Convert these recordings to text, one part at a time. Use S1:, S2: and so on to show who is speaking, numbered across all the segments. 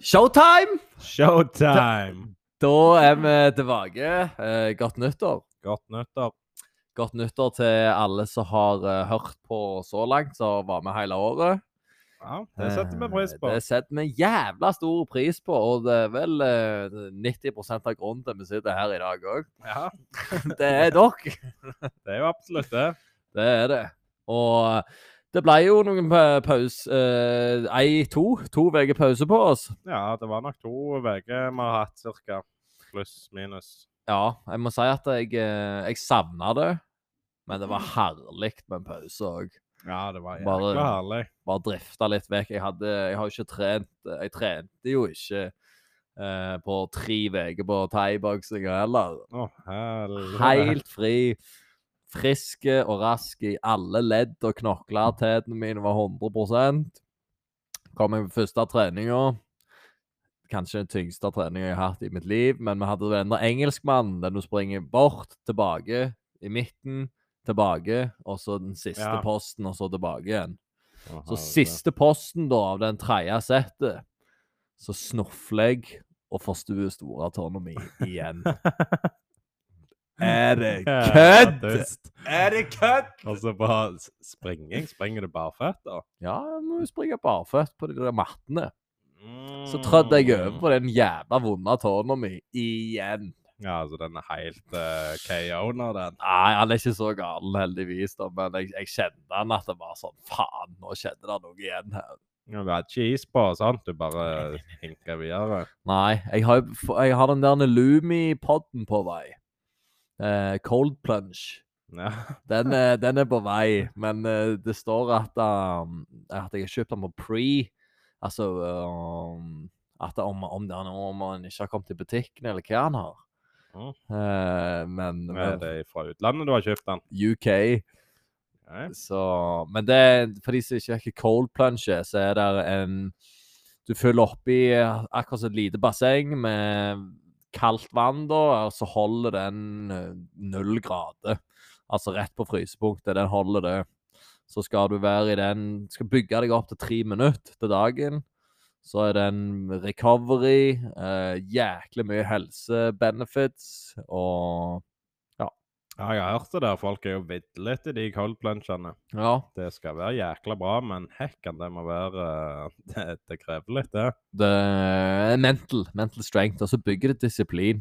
S1: Showtime!
S2: Showtime!
S1: Da er vi tilbake. Eh, godt nyttår.
S2: Godt nyttår.
S1: Godt nyttår til alle som har eh, hørt på så langt, som var med hele året.
S2: Ja, det setter vi
S1: Eh,
S2: pris på.
S1: Det setter vi jævla stor pris på, og det er vel eh, 90 av grunnen til at vi sitter her i dag òg.
S2: Ja,
S1: Det er dere.
S2: det er jo absolutt det.
S1: Det er det. Og eh, det ble jo noen pa- pause. eh, Ei, to. To uker pause på oss.
S2: Ja, det var nok to uker vi har hatt, cirka. Pluss, minus.
S1: Ja, jeg må si at jeg, eh, jeg savna det. Men det var herlig med en pause òg.
S2: Ja, det var
S1: Bare-
S2: jækla herlig.
S1: Bare drifta litt vekk. Jeg, hadde, jeg har jo ikke trent Jeg trente jo ikke eh, på tre uker på thaiboksing heller.
S2: Å, helvete.
S1: Helt fri. Friske og rask i alle ledd og knokler. Tetene mine var 100 Kom jeg på første treninga. Kanskje den tyngste treninga jeg har hatt i mitt liv, men vi hadde den der engelskmannen, den du springer bort, tilbake, i midten, tilbake, og så den siste
S2: Ja.
S1: posten, og så tilbake igjen.
S2: Å,
S1: Så
S2: helvete.
S1: siste posten da, av den tredje settet, så snufler jeg og forstuer store tårna mi igjen. Er det
S2: Ja,
S1: kødd?
S2: dust.
S1: Er det kødd?
S2: Og så bare s- springing. Springer du barføtter?
S1: Ja, jeg må jo springe barføtt på de der mattene.
S2: Mm.
S1: Så trødde jeg over på den jævla vonde tårna mi igjen.
S2: Ja, så den er helt uh, KO-ner, den.
S1: Nei, han er ikke så gal, heldigvis, da, men jeg, jeg kjente han at det var sånn Faen, nå skjedde det noe igjen her.
S2: Ja, Du har ikke is på, sant? Du bare hinker videre.
S1: Nei, jeg har, jo f- jeg har den der Lumi-podden på vei. Eh, cold plunge.
S2: Ja.
S1: Den, er- den er på vei, men eh, det står at, um, at jeg har kjøpt den på pre. Altså um, at det- om, om det er noe om han ikke har kommet i butikken, eller hva han har.
S2: Mm.
S1: Eh, men
S2: Er
S1: men
S2: det fra utlandet du har kjøpt den?
S1: UK
S2: Nei.
S1: så, Men det, for de som ikke rekker cold plunge, så er det en Du fyller oppi eh, akkurat som et lite basseng med kaldt vann, da, og så holder den eh, null grader. Altså rett på frysepunktet. Den holder det. Så skal du være i den Skal bygge deg opp til tre minutter til dagen. Så er det en recovery, eh, jæklig mye helsebenefits og
S2: Ja, jeg har hørt det der. Folk er jo vidlete, de cold plungene.
S1: Ja,
S2: Det skal være jækla bra, men hekken, det må være eh, det, det krever litt, det.
S1: Det er mental, mental strength, og så bygger det disiplin.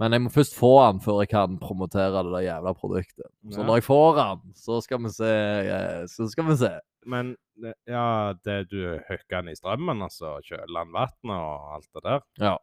S1: Men jeg må først få den før jeg kan promotere det der jævla produktet. Så når
S2: Ja.
S1: jeg får den, så skal vi se. eh, Så skal vi se.
S2: Men det- ja, det du hooker den i strømmen, altså kjøler den vannet og alt det der.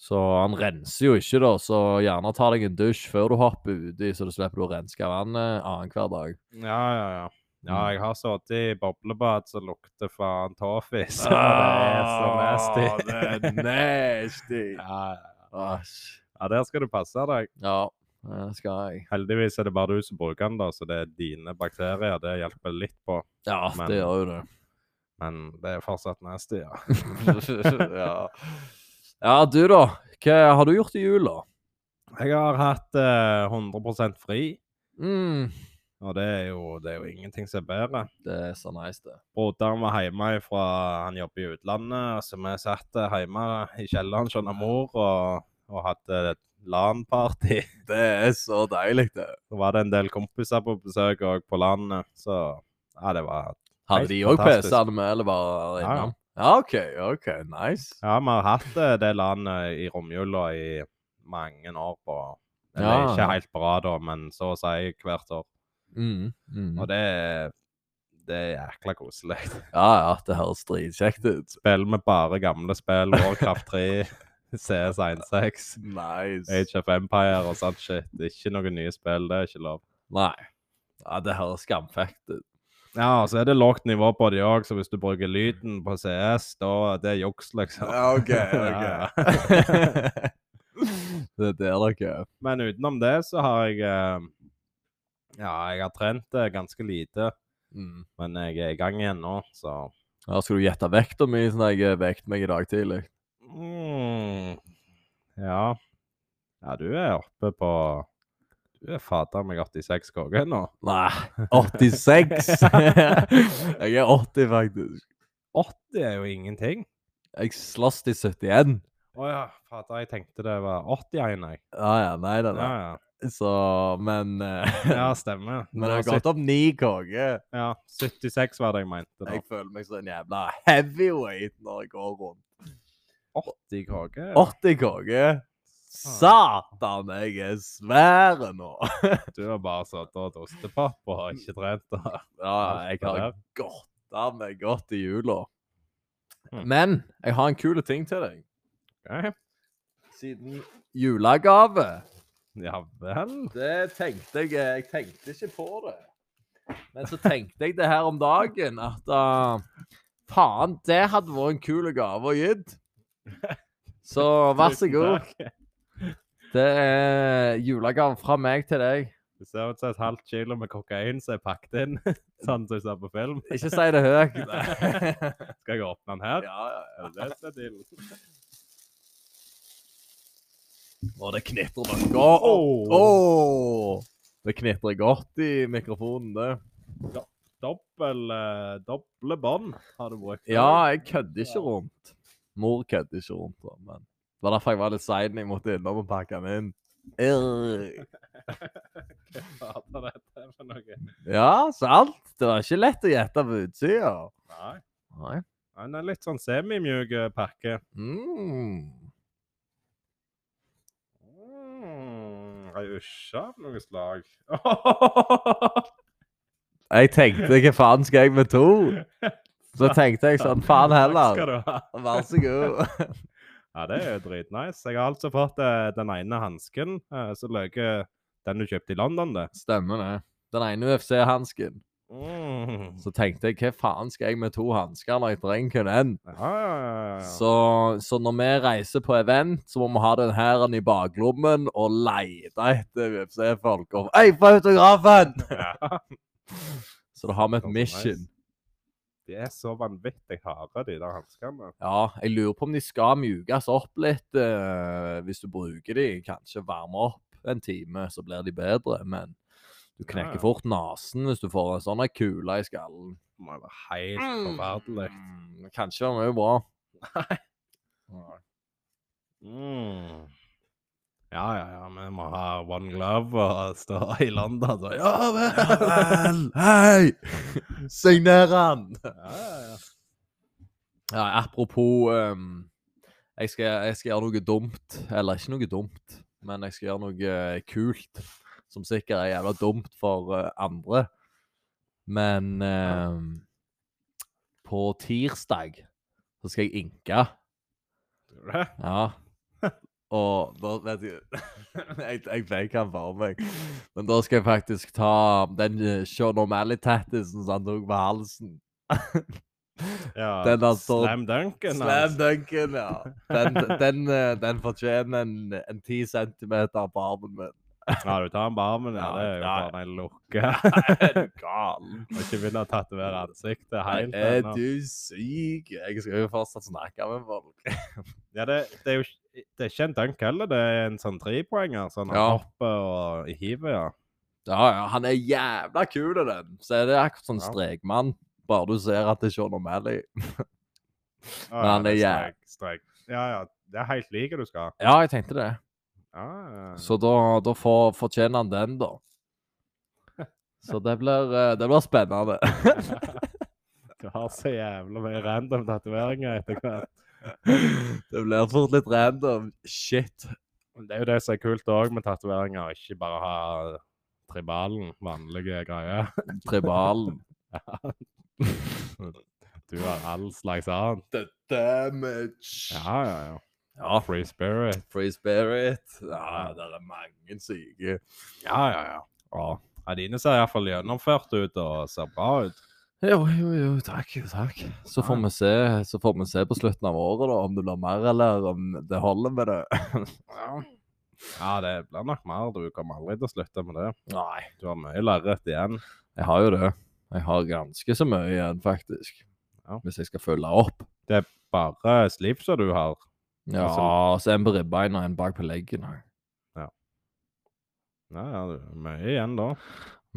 S1: Så han renser jo ikke, da, så gjerne ta deg en dusj før du hopper uti, så du slipper å renske vannet annenhver dag.
S2: Ja, ja, ja. Ja,
S1: Mm.
S2: jeg har sittet i boblebad som lukter faen toffis. og Det er så nasty.
S1: Ah, det er nasty.
S2: Ja, ja, ja.
S1: Æsj.
S2: ja, der skal du passe deg.
S1: Ja, det skal jeg.
S2: Heldigvis er det bare du som bruker den, da, så det er dine bakterier. Det hjelper litt på.
S1: Ja,
S2: Men-
S1: det gjør jo det.
S2: Men det er fortsatt nasty, ja.
S1: ja. ja, du da. Hva har du gjort i jula?
S2: Jeg har hatt eh, 100 fri,
S1: Mm.
S2: og det er, jo, det er jo ingenting som er bedre.
S1: Det er så nice, det.
S2: Broderen var hjemme fra Han jobber i utlandet, så vi satt eh, hjemme i kjelleren hos mor og, og hadde et LAN-party.
S1: Det er så deilig, det.
S2: Så var det en del kompiser på besøk òg på landet, så ja, det var
S1: Hadde
S2: Helt
S1: de òg
S2: fantastisk.
S1: PC-ene med, eller bare
S2: Ja, ja.
S1: innom? Ja, OK. ok, Nice.
S2: Ja, vi har hatt eh, det landet i romjula i mange år på Eller
S1: Ja,
S2: ikke
S1: ja.
S2: helt på rad, da, men så å si hvert år.
S1: Mm, mm.
S2: Og det, er- det er jækla koselig.
S1: Ja, ja, det høres dritkjekt ut.
S2: spiller vi bare gamle spill. Warcraft 3, CS16,
S1: Nice.
S2: Age of Empire og sånt shit. Ikke noen nye spill, det er ikke lov.
S1: Nei. Ja, det høres skamfekt ut.
S2: Ja, og så er det lågt nivå på de òg, så hvis du bruker lyden på CS, da det er juks, liksom. Ja, ja.
S1: det er der dere er.
S2: Men utenom det så har jeg eh, Ja, jeg har trent eh, ganske lite,
S1: Mm.
S2: men jeg er i gang igjen nå, så
S1: Ja, skal du gjette vekta mi sånn at jeg vekket meg i dag tidlig?
S2: mm, Ja. Ja, du er oppe på Du er fader meg 86 KG nå.
S1: Nei, 86! jeg er 80, faktisk.
S2: 80 er jo ingenting.
S1: Jeg slåss til 71.
S2: Å ja, fader, jeg tenkte det var 81, jeg.
S1: Ja, ja, nei, nei,
S2: Ja,
S1: nei.
S2: ja.
S1: Så, men eh,
S2: ja stemmer.
S1: Men jeg har
S2: sytt-
S1: gått opp ni konger.
S2: ja, 76 var det jeg mente. da.
S1: Jeg føler meg som en jævla heavyweight når jeg går rundt.
S2: 80 kaker?
S1: 80 konger. Satan, jeg er svær nå!
S2: Du har bare sittet og hatt ostepop og har ikke trent. da.
S1: Ja, jeg har
S2: Alt
S1: gått av meg godt i jula.
S2: Hmm.
S1: Men jeg har en kul ting til deg.
S2: Ok.
S1: Siden julegave.
S2: Ja vel.
S1: Det tenkte jeg Jeg tenkte ikke på det. Men så tenkte jeg det her om dagen, at uh, faen, det hadde vært en kul gave å gitt. Så vær så
S2: Tusen
S1: god.
S2: takk.
S1: Det er julegave fra meg til deg.
S2: Det ser ut som et halvt kilo med kokain som er pakket inn, sånn som du ser på film.
S1: Ikke si det høyt.
S2: Skal jeg åpne den her?
S1: ja, ja.
S2: Er det det som er dealen?
S1: Og det knitrer nok. Åh, åh,
S2: Oh,
S1: åh. Det knitrer godt i mikrofonen, det.
S2: Dobbel, eh, doble bånd har du brukt.
S1: Ja, jeg kødder ikke rundt. Mor kødder ikke rundt, da, men Det var derfor jeg var litt sein. Jeg måtte innom og pakke den inn. Eh, Irr.
S2: Fader, dette er for noe.
S1: Ja, sant? Det var ikke lett å gjette på utsida.
S2: Nei.
S1: Nei.
S2: Nei, Den er litt sånn semimjuk eh, pakke.
S1: Mm.
S2: Mm, ei usje av noe slag.
S1: Jeg tenkte hva faen skal jeg med to? Så tenkte jeg sånn, faen
S2: Takk
S1: heller.
S2: skal du ha.
S1: Vær så god.
S2: Ja, det er jo dritnice. Jeg har altså fått eh, den ene hansken eh, som løker den du kjøpte i London, det.
S1: Stemmer det. Den ene UFC-hansken.
S2: Mm.
S1: Så tenkte jeg hva faen skal jeg med to hansker når jeg trenger kun én?
S2: Ja, ja, ja, ja.
S1: Så, så når vi reiser på event, så må vi ha den her i baklommen og lete etter UFC-folk. Og Hei, få autografen!
S2: ja.
S1: Så da har vi et
S2: Ganske
S1: mission.
S2: nice. De er så vanvittig harde, de der hanskene.
S1: Ja, jeg lurer på om de skal mjukes opp litt eh, hvis du bruker de. Kanskje varme opp en time, så blir de bedre. Men du
S2: Ja, ja.
S1: knekker fort nesen hvis du får en sånn ei kule i skallen.
S2: Det må være helt forferdelig.
S1: Mm, Kanskje var mye bra.
S2: Mm. Ja, ja, ja, vi må ha one glove og stå i London så Ja vel!
S1: hei! Signer han!
S2: Ja, ja, ja.
S1: Ja, apropos ehm, jeg, skal, jeg skal gjøre noe dumt. Eller ikke noe dumt, men jeg skal gjøre noe eh, kult. Som sikkert er jævla dumt for eh, andre. Men ehm, på tirsdag så skal jeg inke.
S2: Tror du det?
S1: Ja. Og da vet du Jeg, jeg fikk han for meg. Men da skal jeg faktisk ta den eh, Sean O'Malley-tattisen som han tok på halsen.
S2: Ja,
S1: Den der står-
S2: Slam Duncan.
S1: Slam
S2: altså.
S1: dunken, ja. Den, den, eh, den fortjener en, en 10 centimeter på armen min.
S2: Ja, du tar den på armen, ja.
S1: Ja,
S2: Det er jo
S1: ja, ja.
S2: faen en lukke.
S1: Gal.
S2: Og ikke begynne å tatovere ansiktet helt
S1: Er
S2: ennå.
S1: du syk? Jeg skal jo fortsatt snakke med folk.
S2: Ja, det, det er jo ikke- det er ikke en dunk heller, det er en sånn trepoenger. Sånn
S1: Ja.
S2: han hopper og i hivet, ja.
S1: Ja, ja, han er jævla kul, den. Så er det akkurat sånn
S2: Ja.
S1: strekmann. Bare du ser at det er Sean O'Malley.
S2: Å,
S1: Men han er
S2: det
S1: jæv-
S2: strek- strek. Ja, ja. Det er helt like du skal.
S1: Ja, jeg tenkte det.
S2: Ja, ja.
S1: Så da, da får, fortjener han den, da. Så det blir, eh, det blir spennende.
S2: Du har så jævla mye random tatoveringer etter hvert.
S1: Det blir fort litt random shit.
S2: Men Det er jo det som er kult òg med tatoveringer, ikke bare ha tribalen, vanlige greier.
S1: Tribalen.
S2: Du har all slags annet.
S1: The damage. Ja.
S2: Ja, ja, ja.
S1: ja.
S2: Free spirit.
S1: Free spirit. Ja, det er mange syke.
S2: Ja, ja, ja.
S1: Ja.
S2: Ja, dine ser iallfall gjennomført ut og ser bra ut.
S1: Jo, jo, jo, takk. jo, takk. Så får,
S2: Ja.
S1: vi se, så får vi se på slutten av året da, om det blir mer, eller om det holder med det.
S2: Ja. ja, det blir nok mer. Du kommer aldri til å slutte med det.
S1: Nei.
S2: Du har mye lerret igjen.
S1: Jeg har jo det. Jeg har ganske så mye igjen, faktisk.
S2: Ja.
S1: Hvis jeg skal følge opp.
S2: Bare slipset du har.
S1: Ja, så en på ribbeina og en bak på leggen. her.
S2: Ja, ja, du, mye igjen da.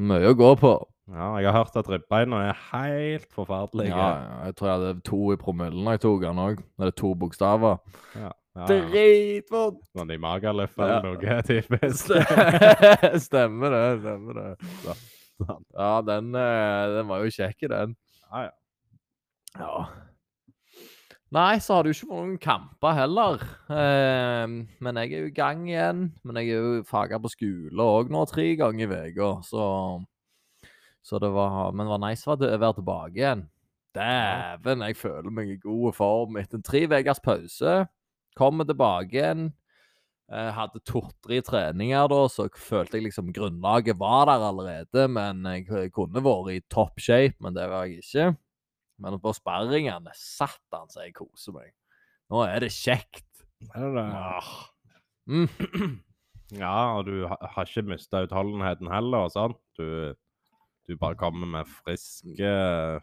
S1: Mye å gå på.
S2: Ja, jeg har hørt at ribbeina er helt forferdelig.
S1: Ja, ja, jeg tror jeg hadde to i promillen da jeg tok den òg. Det er to bokstaver.
S2: Ja, ja.
S1: Dritvondt!
S2: Sånn i Magaluf eller noe, typisk.
S1: stemmer det, stemmer det.
S2: Så, sånn.
S1: Ja, den, eh, den var jo kjekk, den.
S2: Ja, ja.
S1: Ja. Nei, så har du ikke vært noen kamper heller. Eh, men jeg er jo i gang igjen. Men jeg er jo faga på skole òg nå, tre ganger i uka, så Så det var Men det var nice å være å være tilbake igjen. Dæven, jeg føler meg i god form etter en tre ukers pause. Kommer tilbake igjen. Eh, hadde to-tre treninger da, så følte jeg liksom grunnlaget var der allerede. Men jeg kunne vært i topp shape, men det var jeg ikke. Men på sperringene satt han seg jeg koser meg. Nå er det kjekt.
S2: Er det det?
S1: Ah. Mm.
S2: Ja, og du ha- har ikke mista utholdenheten heller, sant? Du, du bare kommer med friske,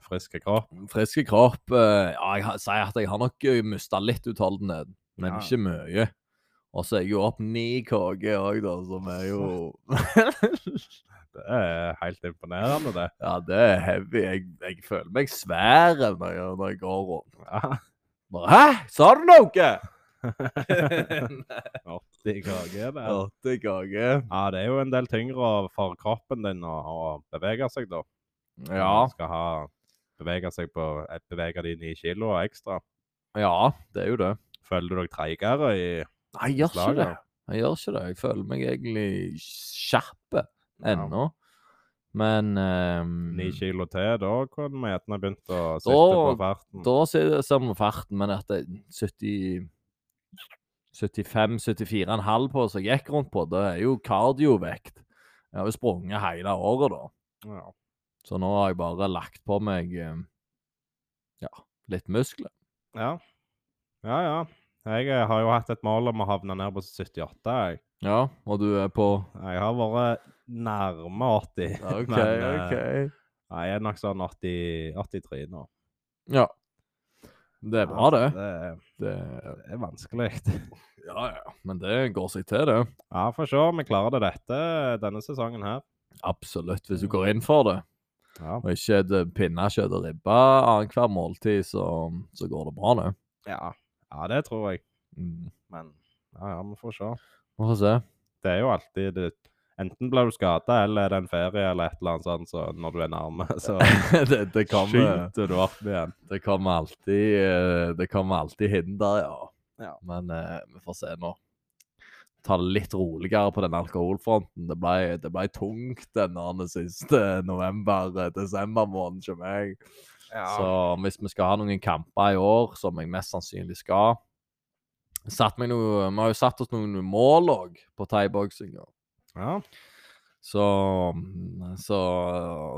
S2: friske kropp.
S1: Friske kropp. eh, Ja, jeg har- sier at jeg har nok mista litt utholdenhet, men
S2: Ja.
S1: ikke mye. Og så er jeg jo opp ni KG òg, da, som er jo
S2: Det er helt imponerende, det.
S1: Ja, det er heavy. Jeg, jeg føler meg svær når jeg, når jeg går rundt.
S2: Ja.
S1: Bare, Hæ? Sa du noe?
S2: 80 kaker, det.
S1: Åtte KG.
S2: Ja, det er jo en del tyngre for kroppen din å, å bevege seg, da.
S1: Ja.
S2: Du skal ha, bevege seg på eh, bevege de ni kilo ekstra.
S1: Ja, det er jo det.
S2: Føler du deg treigere i
S1: Nei, jeg gjør ikke det.
S2: slaget?
S1: Jeg gjør ikke det. Jeg føler meg egentlig skjerpe ennå. Men ehm,
S2: Ni kilo til, da kunne vi gjerne begynt å sitte på farten.
S1: da ser det samme farten, men at det er 70 75-74,5 på som jeg gikk rundt på, det er jo kardiovekt. Jeg har jo sprunget hele året, da.
S2: Ja.
S1: Så nå har jeg bare lagt på meg eh, ja, litt muskler.
S2: ja. Ja, ja. Jeg eh, har jo hatt et mål om å havne ned på 78. Jeg,
S1: Ja, og du er på
S2: jeg har vært nærme 80.
S1: OK,
S2: eh,
S1: OK.
S2: Nei, jeg er nok sånn 80, 83 nå.
S1: Ja. Det er bra, det.
S2: Det er,
S1: det
S2: det er vanskelig.
S1: ja, ja. Men det går seg til, det.
S2: Ja, for se om vi klarer det dette denne sesongen her.
S1: Absolutt, hvis du går inn for det.
S2: Ja.
S1: Og ikke et eh, pinnekjøtt og ribbe annenhver måltid, så, så går det bra, det.
S2: ja. Ja, det tror jeg.
S1: Mm.
S2: Men ja, ja, vi får se.
S1: Vi får se.
S2: Det er jo alltid det, Enten blir du skada, eller er det en ferie eller et eller annet sånt, så når du er nærme, så
S1: det, det, kommer,
S2: skyter du opp igjen.
S1: det, kommer alltid, eh, det kommer alltid hinder, ja.
S2: Ja.
S1: Men eh, vi får se nå. Ta det litt roligere på den alkoholfronten. Det ble, det ble tungt den siste eh, november-desember måneden for meg.
S2: Så,
S1: Så hvis vi skal ha noen kamper i år, som jeg mest sannsynlig skal satt meg noe, Vi har jo satt oss noen mål òg på thaiboksing. og
S2: ja.
S1: Så, så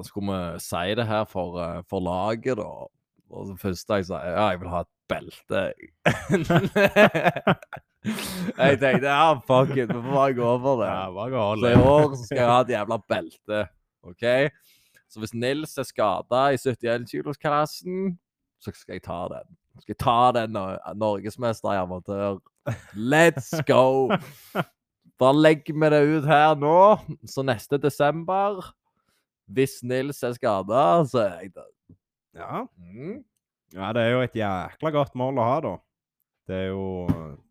S1: skulle vi si det her for, eh, for laget, da. Og det første jeg sa, ja, jeg vil ha et belte. eh, jeg tenkte ja, fuck it, vi får bare gå for det.
S2: ja bare gå og
S1: Så Altså, i år så skal jeg ha et jævla belte. OK? Så hvis Nils er skada i 71-kilosklassen, så skal jeg ta den. Så Skal jeg ta den Nor- norgesmester i amatør? Let's go! Da legger vi det ut her nå. Så neste desember, hvis Nils er skada, så er jeg der.
S2: Ja.
S1: Mm.
S2: ja, det er jo et jækla godt mål å ha, da. Det er jo,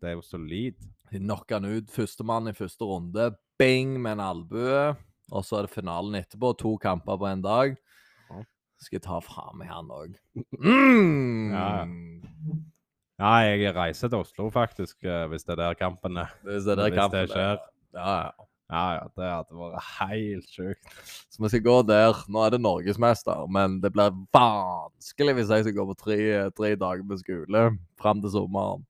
S2: det er jo solid.
S1: De knocker han ut. Førstemann i første runde. Bing med en albue. Og så er det finalen etterpå. To kamper på én dag.
S2: Ja.
S1: Skal jeg ta fra meg han òg. Mm!
S2: Ja. Ja, jeg reiser til Oslo, faktisk, eh, hvis det er der kampen er.
S1: Hvis det er der
S2: Hvis
S1: kampen
S2: det skjer.
S1: er. Ja, ja.
S2: Ja, ja, det hadde vært helt sjukt.
S1: Så vi skal gå der. Nå er det norgesmester, men det blir vanskelig hvis jeg skal gå på tre, tre dager med skole fram til sommeren.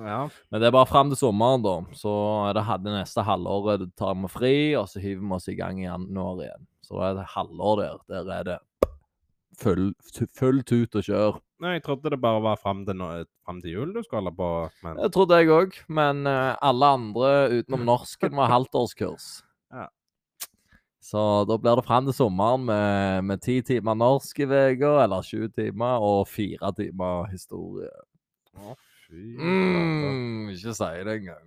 S2: Ja.
S1: Men det er bare fram til sommeren, da. Så er det hadde neste halvåret det tar vi fri, og så hiver vi oss i gang i januar igjen. Så da er det halvår der. Der er det full, tu- full tut og kjør.
S2: Nei, jeg trodde det bare var fram til, nå- frem til jul du skulle holde på, men
S1: Det trodde jeg òg, men eh, alle andre utenom norsken var halvtårskurs.
S2: Ja.
S1: Så da blir det fram til sommeren med, med ti timer norsk i uka, eller sju timer, og fire timer historie.
S2: Å, fy flate.
S1: Mm, ikke si det engang.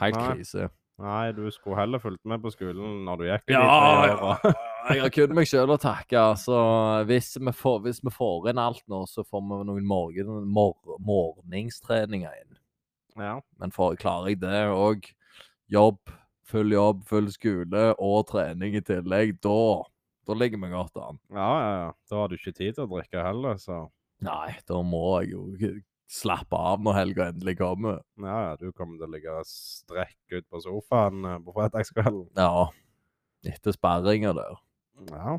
S1: Helt
S2: Nei.
S1: krise.
S2: Nei, du skulle heller fulgt med på skolen når du gikk i de
S1: Ja,
S2: tre
S1: ja,
S2: åra.
S1: ja, Jeg har kun meg sjøl å takke. Så hvis vi, får, hvis vi får inn alt nå, så får vi noen morgen, mor, morgenstreninger inn.
S2: Ja.
S1: Men for, klarer jeg det òg, jobb, full jobb, full skole og trening i tillegg, da, da ligger vi godt an.
S2: ja, ja, ja. Da har du ikke tid til å drikke heller, så
S1: Nei, da må jeg jo slappe av når helga endelig kommer.
S2: ja, ja, du kommer til å ligge strekk ut på sofaen eh, på fredagskvelden.
S1: Ja. Etter sperringer der.
S2: Ja.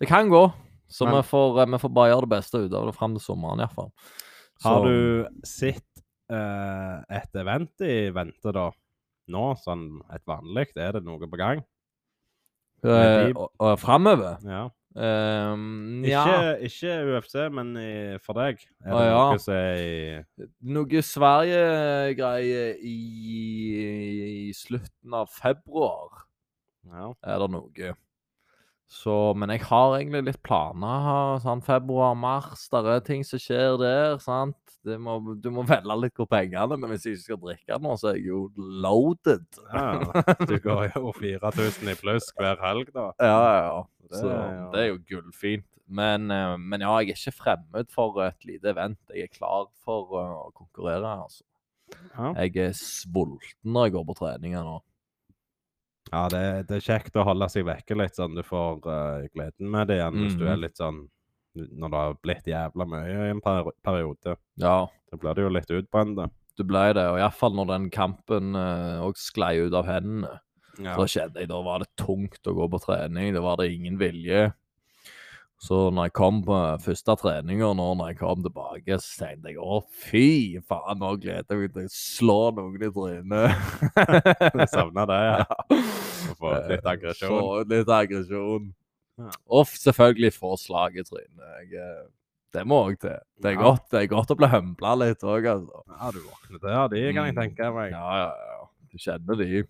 S1: Det kan gå. Så
S2: Men-
S1: vi, får, eh, vi får bare gjøre det beste ut av det fram til sommeren, iallfall.
S2: Har du sett eh, et event i vente da? Nå, sånn et vanlig, er det noe på gang?
S1: eh,
S2: de-
S1: og- og Framover?
S2: Ja.
S1: Um,
S2: Ikke,
S1: ja.
S2: ikke UFC, men i, for deg. Er det
S1: Å, ja.
S2: noe som er i
S1: Noe Sverige-greie i, i slutten av februar
S2: Ja.
S1: er det noe. Så, men jeg har egentlig litt planer. Sånn Februar-mars, der er ting som skjer der. sant? Det må, du må velge litt hvor pengene Men hvis jeg ikke skal drikke nå, så er jeg jo loaded.
S2: ja. Du går jo 4000 i pluss hver helg, da.
S1: Ja, ja, ja.
S2: Det
S1: Så
S2: er jo-
S1: det er jo gullfint. Men, eh, men ja, jeg er ikke fremmed for et lite event. Jeg er klar for eh, å konkurrere. altså.
S2: Ja.
S1: Jeg er sulten når jeg går på treninger nå.
S2: Ja, det, det er kjekt å holde seg vekke litt, sånn du får eh, gleden med det igjen hvis du er
S1: Mhm.
S2: litt sånn Når det har blitt jævla mye i en per periode.
S1: Ja,
S2: Da blir du jo litt utbrent.
S1: det ble det. Og iallfall når den kampen òg sklei ut av hendene.
S2: Ja.
S1: Så kjente jeg da var det tungt å gå på trening. Da var det ingen vilje. Så når jeg kom på første treninga nå, når jeg kom tilbake, så tenkte jeg å, fy faen, nå gleder jeg meg til å slå noen i trynet.
S2: Jeg savner det, ja. Å få
S1: Eh,
S2: litt aggresjon.
S1: Få ut litt aggresjon.
S2: Ja.
S1: Og f- selvfølgelig få slag i trynet. Jeg, eh, Det må òg til. Det er,
S2: Ja.
S1: godt, det er godt å bli humpla litt òg, altså.
S2: Ja, du våkner til av de, kan jeg
S1: Mm.
S2: tenke meg.
S1: Ja, ja, ja. Du kjenner de.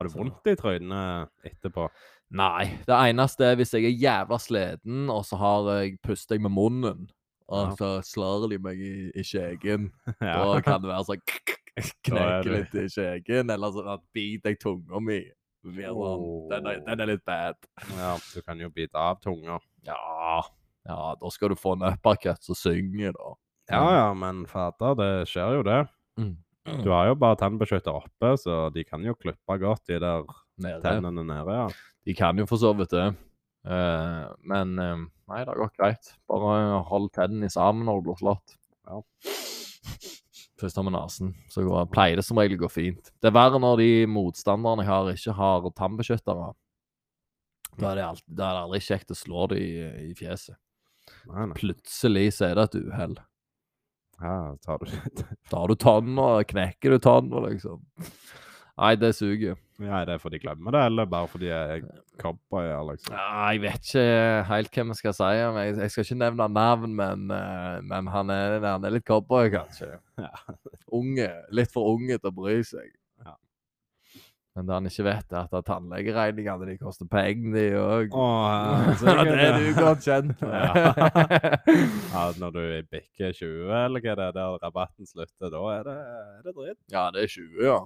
S2: Har du vondt i trynet etterpå?
S1: Nei. Det eneste er hvis jeg er jævla sliten, og så har jeg, puster jeg med munnen.
S2: Ja.
S1: Og så slår de meg i, i skjegen. Da
S2: Ja.
S1: kan det være sånn jeg
S2: Da er
S1: knekker
S2: du-
S1: litt i skjegen, eller sånn at biter jeg tunga mi. Sånn. Den, er, den er litt bad.
S2: ja, du kan jo bite av tunga.
S1: Ja, ja, da skal du få en uppercut som synger, da.
S2: Ja, ja, men fader, det skjer jo det.
S1: Mm.
S2: Du har jo bare tannbeskytter oppe, så de kan jo klippe godt de der
S1: Nede.
S2: tennene nede, ja.
S1: De kan jo for så vidt det. Eh, men eh, nei, det har gått greit. Bare hold tennene sammen når du blir slått.
S2: Ja.
S1: Først har vi nesen, så går, pleier det som regel å gå fint. Det er verre når de motstanderne jeg har, ikke har tannbeskyttere. Da er det, alt, da er det aldri kjekt å slå dem i, i fjeset.
S2: Nei, nei.
S1: Plutselig så er det et uhell.
S2: Ja, tar du
S1: Da har du tanna, knekker du tanna, liksom. Nei, det suger.
S2: Ja, er det fordi de glemmer det, eller bare fordi jeg er cowboyer, liksom?
S1: Ja, jeg vet ikke helt hva vi skal si. om Jeg, jeg skal ikke nevne navn, men, eh, men han, er, han er litt cowboy, kanskje.
S2: Ja.
S1: Unge. Litt for unge til å bry seg.
S2: Ja.
S1: Men det han ikke vet, er at tannlegeregningene de koster penger, de òg.
S2: Åh,
S1: det er du godt kjent med.
S2: Ja, når du er bikker 20, eller hva det er der rabatten slutter, da er det, er det dritt.
S1: ja, det er 20, ja.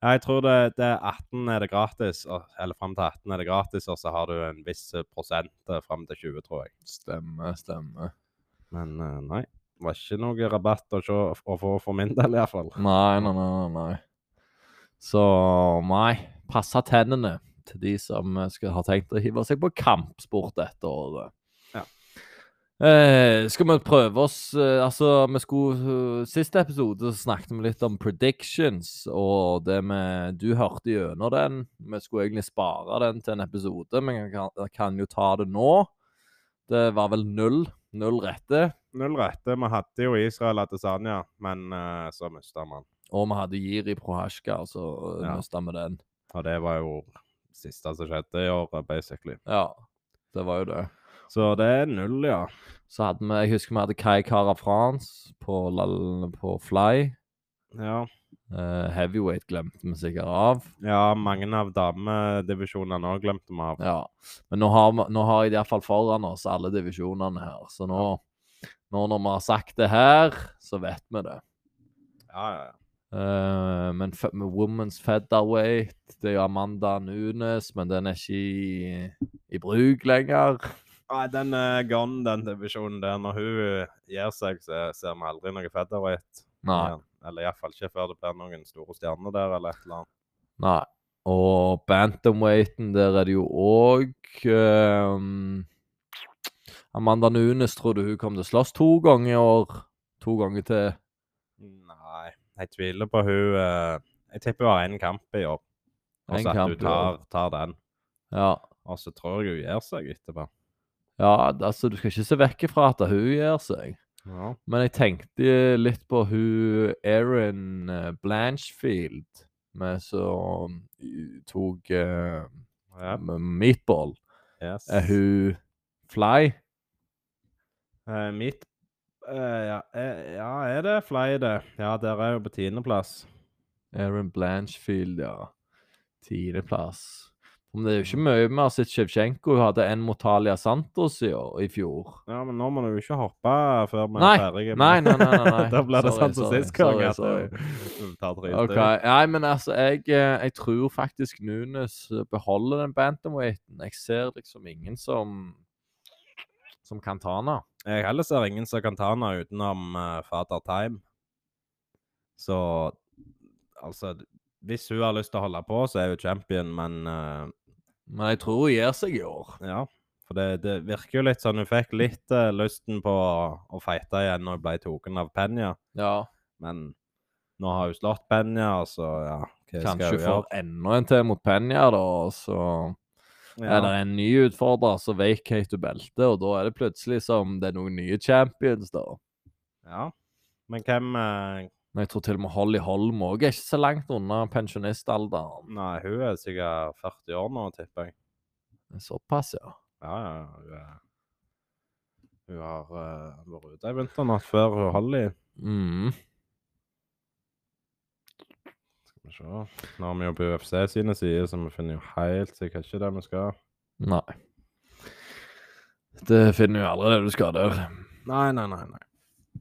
S2: Ja, Jeg tror det, det er 18 er det gratis, og, eller frem til 18 er det gratis, og så har du en viss prosent eh, frem til 20, tror jeg.
S1: Stemmer, stemmer.
S2: Men eh, nei, det var ikke noe rabatt å, se, å få for min del i hvert fall.
S1: Nei, nei, nei, nei, nei. Så nei, passe tennene til de som eh, skal ha tenkt å hive seg på kampsport dette året.
S2: Ja.
S1: Eh, skal vi prøve oss eh, Altså, vi skulle eh, Siste episode så snakket vi litt om predictions og det med Du hørte gjennom den. Vi skulle egentlig spare den til en episode, men jeg kan, jeg kan jo ta det nå. Det var vel null. Null rette.
S2: Null rette, vi hadde jo Israel Adesanya, men eh, så mistet man.
S1: Og vi hadde Jiri Prohashka, altså
S2: Ja.
S1: ja. mista vi den.
S2: Og det var jo siste som skjedde i året, basically.
S1: Ja, det var jo det.
S2: Så det er null, ja.
S1: Så hadde vi, jeg husker vi hadde Kai Cara France på, lal- på Fly.
S2: Ja,
S1: Eh, heavyweight glemte vi sikkert av.
S2: ja mange av damedivisjonene òg glemte vi av.
S1: Ja. Men nå har, vi- nå har jeg iallfall foran oss alle divisjonene her, så nå, nå når vi har sagt det her, så vet vi det.
S2: Ja, ja, ja.
S1: Eh, men fe- med Women's Featherweight Det er jo Amanda Nunes, men den er ikke i, i bruk lenger.
S2: Nei, den er gone, den divisjonen der. Når hun eh, gir seg, så ser vi aldri noe featherweight.
S1: Nei.
S2: igjen. Eller iallfall ikke før det blir noen store stjerner der, eller et eller annet.
S1: Nei. Og bantamweighten, der er det jo òg Amanda Nunes trodde hun kom til å slåss to ganger i år. To ganger til.
S2: Nei, jeg tviler på hun eh, Jeg tipper hun har én kamp i år, og
S1: En
S2: så at hun
S1: kamp i år.
S2: tar, tar den.
S1: Ja.
S2: Og så tror jeg hun gir seg etterpå.
S1: ja, altså du skal ikke se vekk ifra at hun gjør seg.
S2: Ja.
S1: Men jeg tenkte litt på hun Erin eh, Blanchfield, med som eh, tok eh,
S2: Ja,
S1: med meatball.
S2: yes.
S1: Er hun fly?
S2: Eh, mitt eh, ja, eh, ja, er det Fly, det? Ja, der er hun på tiendeplass.
S1: Aaron Blanchfield, ja. Tiendeplass. Men det er jo ikke mye vi har sett Shevchenko. Hun hadde en mot Talia Santos i, år, i fjor.
S2: Ja, men nå må du jo ikke hoppe før vi
S1: Nei,
S2: er ferdige. med-
S1: Nei, nei, nei. nei, nei.
S2: da blir det
S1: Sorry,
S2: sånn som
S1: sorry,
S2: sist gang.
S1: sorry,
S2: at
S1: sorry.
S2: du- du tar drit
S1: Ok,
S2: ut.
S1: Nei, men altså, jeg, eh, jeg tror faktisk Nunes eh, beholder den bantamweighten. Jeg ser liksom ingen som som kan ta henne.
S2: Jeg heller ser ingen som kan ta henne utenom eh, Father Time. Så altså Hvis hun har lyst til å holde på, så er hun champion, men eh,
S1: Men jeg tror hun gir seg i år.
S2: ja. For det, det virker jo litt sånn Hun fikk litt eh, lysten på å, å fighte igjen når hun ble tatt av Penya,
S1: Ja,
S2: men nå har hun slått Penya, og så ja. Hva
S1: Kanskje
S2: skal hun
S1: får
S2: gjøre?
S1: enda en til mot Penya, da. og Så
S2: Ja.
S1: Er det en ny utfordrer, så vacater du beltet, og da er det plutselig som det er noen nye champions, da.
S2: ja. Men hvem eh,
S1: Men jeg tror til og med Holly Holm òg er ikke så langt unna pensjonistalderen.
S2: Nei, hun er sikkert 40 år nå, tipper jeg.
S1: Såpass, ja.
S2: Ja, ja, ja. Hun, er- hun har eh, vært ute ei vinternatt før hun Holly.
S1: Mm.
S2: Skal vi se. Nå har vi jo på UFC sine sider, så vi finner jo helt sikkert ikke det vi skal.
S1: Nei. Det finner jo aldri det du skal der.
S2: Nei, nei, nei. Nei,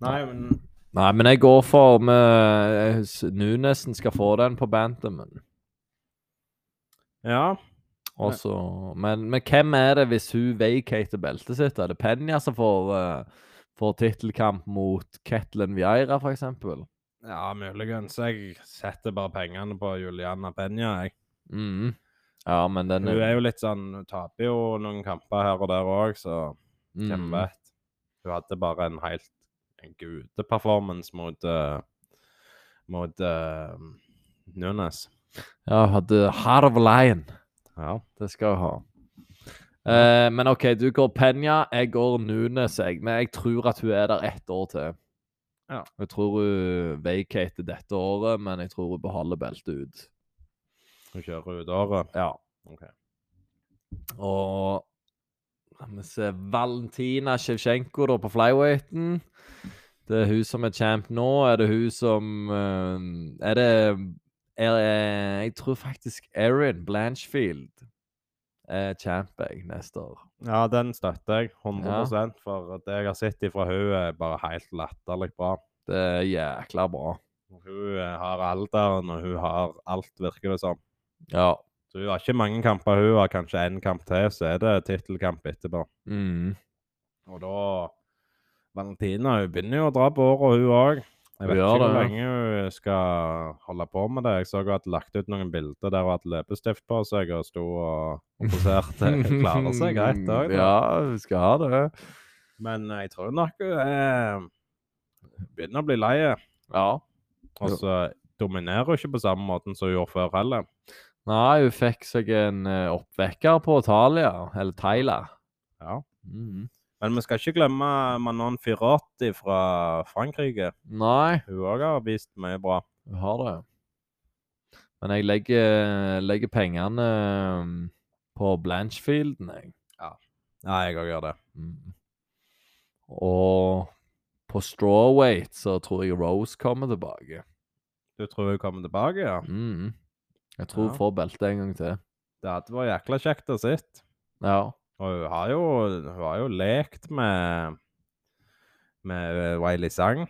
S2: nei men
S1: Nei, men jeg går for med Nunesen skal få den på Bantamen.
S2: Ja.
S1: Og så- men, men hvem er det hvis hun vacater beltet sitt? Er det Penya som får, eh, får tittelkamp mot Ketlin Vieira, for eksempel?
S2: ja, muligens. Jeg setter bare pengene på Juliana Penya. Jeg.
S1: Mhm. Ja, men den
S2: Hun er jo litt sånn Hun taper jo noen kamper her og der òg, så hvem
S1: Mhm.
S2: vet. Hun hadde bare en helt en gudeperformance mot eh, mot eh, Nunes.
S1: Ja, hun hadde Heart of a Lion.
S2: Ja.
S1: Det skal hun ha. Eh, men OK, du går Penya, jeg går Nunes, jeg. Men jeg tror at hun er der ett år til.
S2: Ja.
S1: Jeg tror hun vacater dette året, men jeg tror hun beholder beltet ut.
S2: Hun kjører ut året.
S1: Ja.
S2: Ok.
S1: Og la meg se Valentina Shevchenko da på flyweighten. Det er hun som er champ nå. Er det hun som eh, Er det er, eh, Jeg tror faktisk Erin Blanchfield er champ jeg neste år.
S2: Ja, den støtter jeg 100 for det jeg har sett ifra hun er bare helt latterlig bra.
S1: Det er jækla bra.
S2: Hun eh, har alderen, og hun har alt, virker det som.
S1: Ja.
S2: Så hun har ikke mange kamper, hun har kanskje én kamp til, så er det tittelkamp etterpå.
S1: Mm.
S2: Og da Valentina hun begynner jo å dra på året, hun òg. Jeg
S1: Hun
S2: vet
S1: gjør
S2: ikke hvor
S1: det, ja.
S2: lenge hun skal holde på med det. Jeg så hun hadde lagt ut noen bilder der hun hadde leppestift på seg og sto og, og poserte. Hun klarer seg greit, det òg.
S1: Ja, vi skal ha det.
S2: Men eh, jeg tror nok hun er begynner å bli lei. eh,
S1: Ja.
S2: Og
S1: Ja.
S2: så dominerer hun ikke på samme måten som hun gjorde før heller.
S1: Nei, hun fikk seg en eh, oppvekker på Italia, eller Thaila.
S2: Ja.
S1: Mhm.
S2: Men vi skal ikke glemme Manon Firotti fra Frankrike.
S1: Nei,
S2: Hun òg har vist mye bra.
S1: hun har det. Men jeg legger, legger pengene um, på Blanchfielden, jeg.
S2: Ja, jeg òg gjør det.
S1: Mm. Og på strawweight så tror jeg Rose kommer tilbake.
S2: Du tror hun kommer tilbake, ja?
S1: Mhm. Jeg tror hun
S2: Ja.
S1: får beltet en gang til.
S2: Det hadde vært jækla kjekt å sitte.
S1: Ja.
S2: Og hun har jo, hun har jo lekt med med Wiley Sang.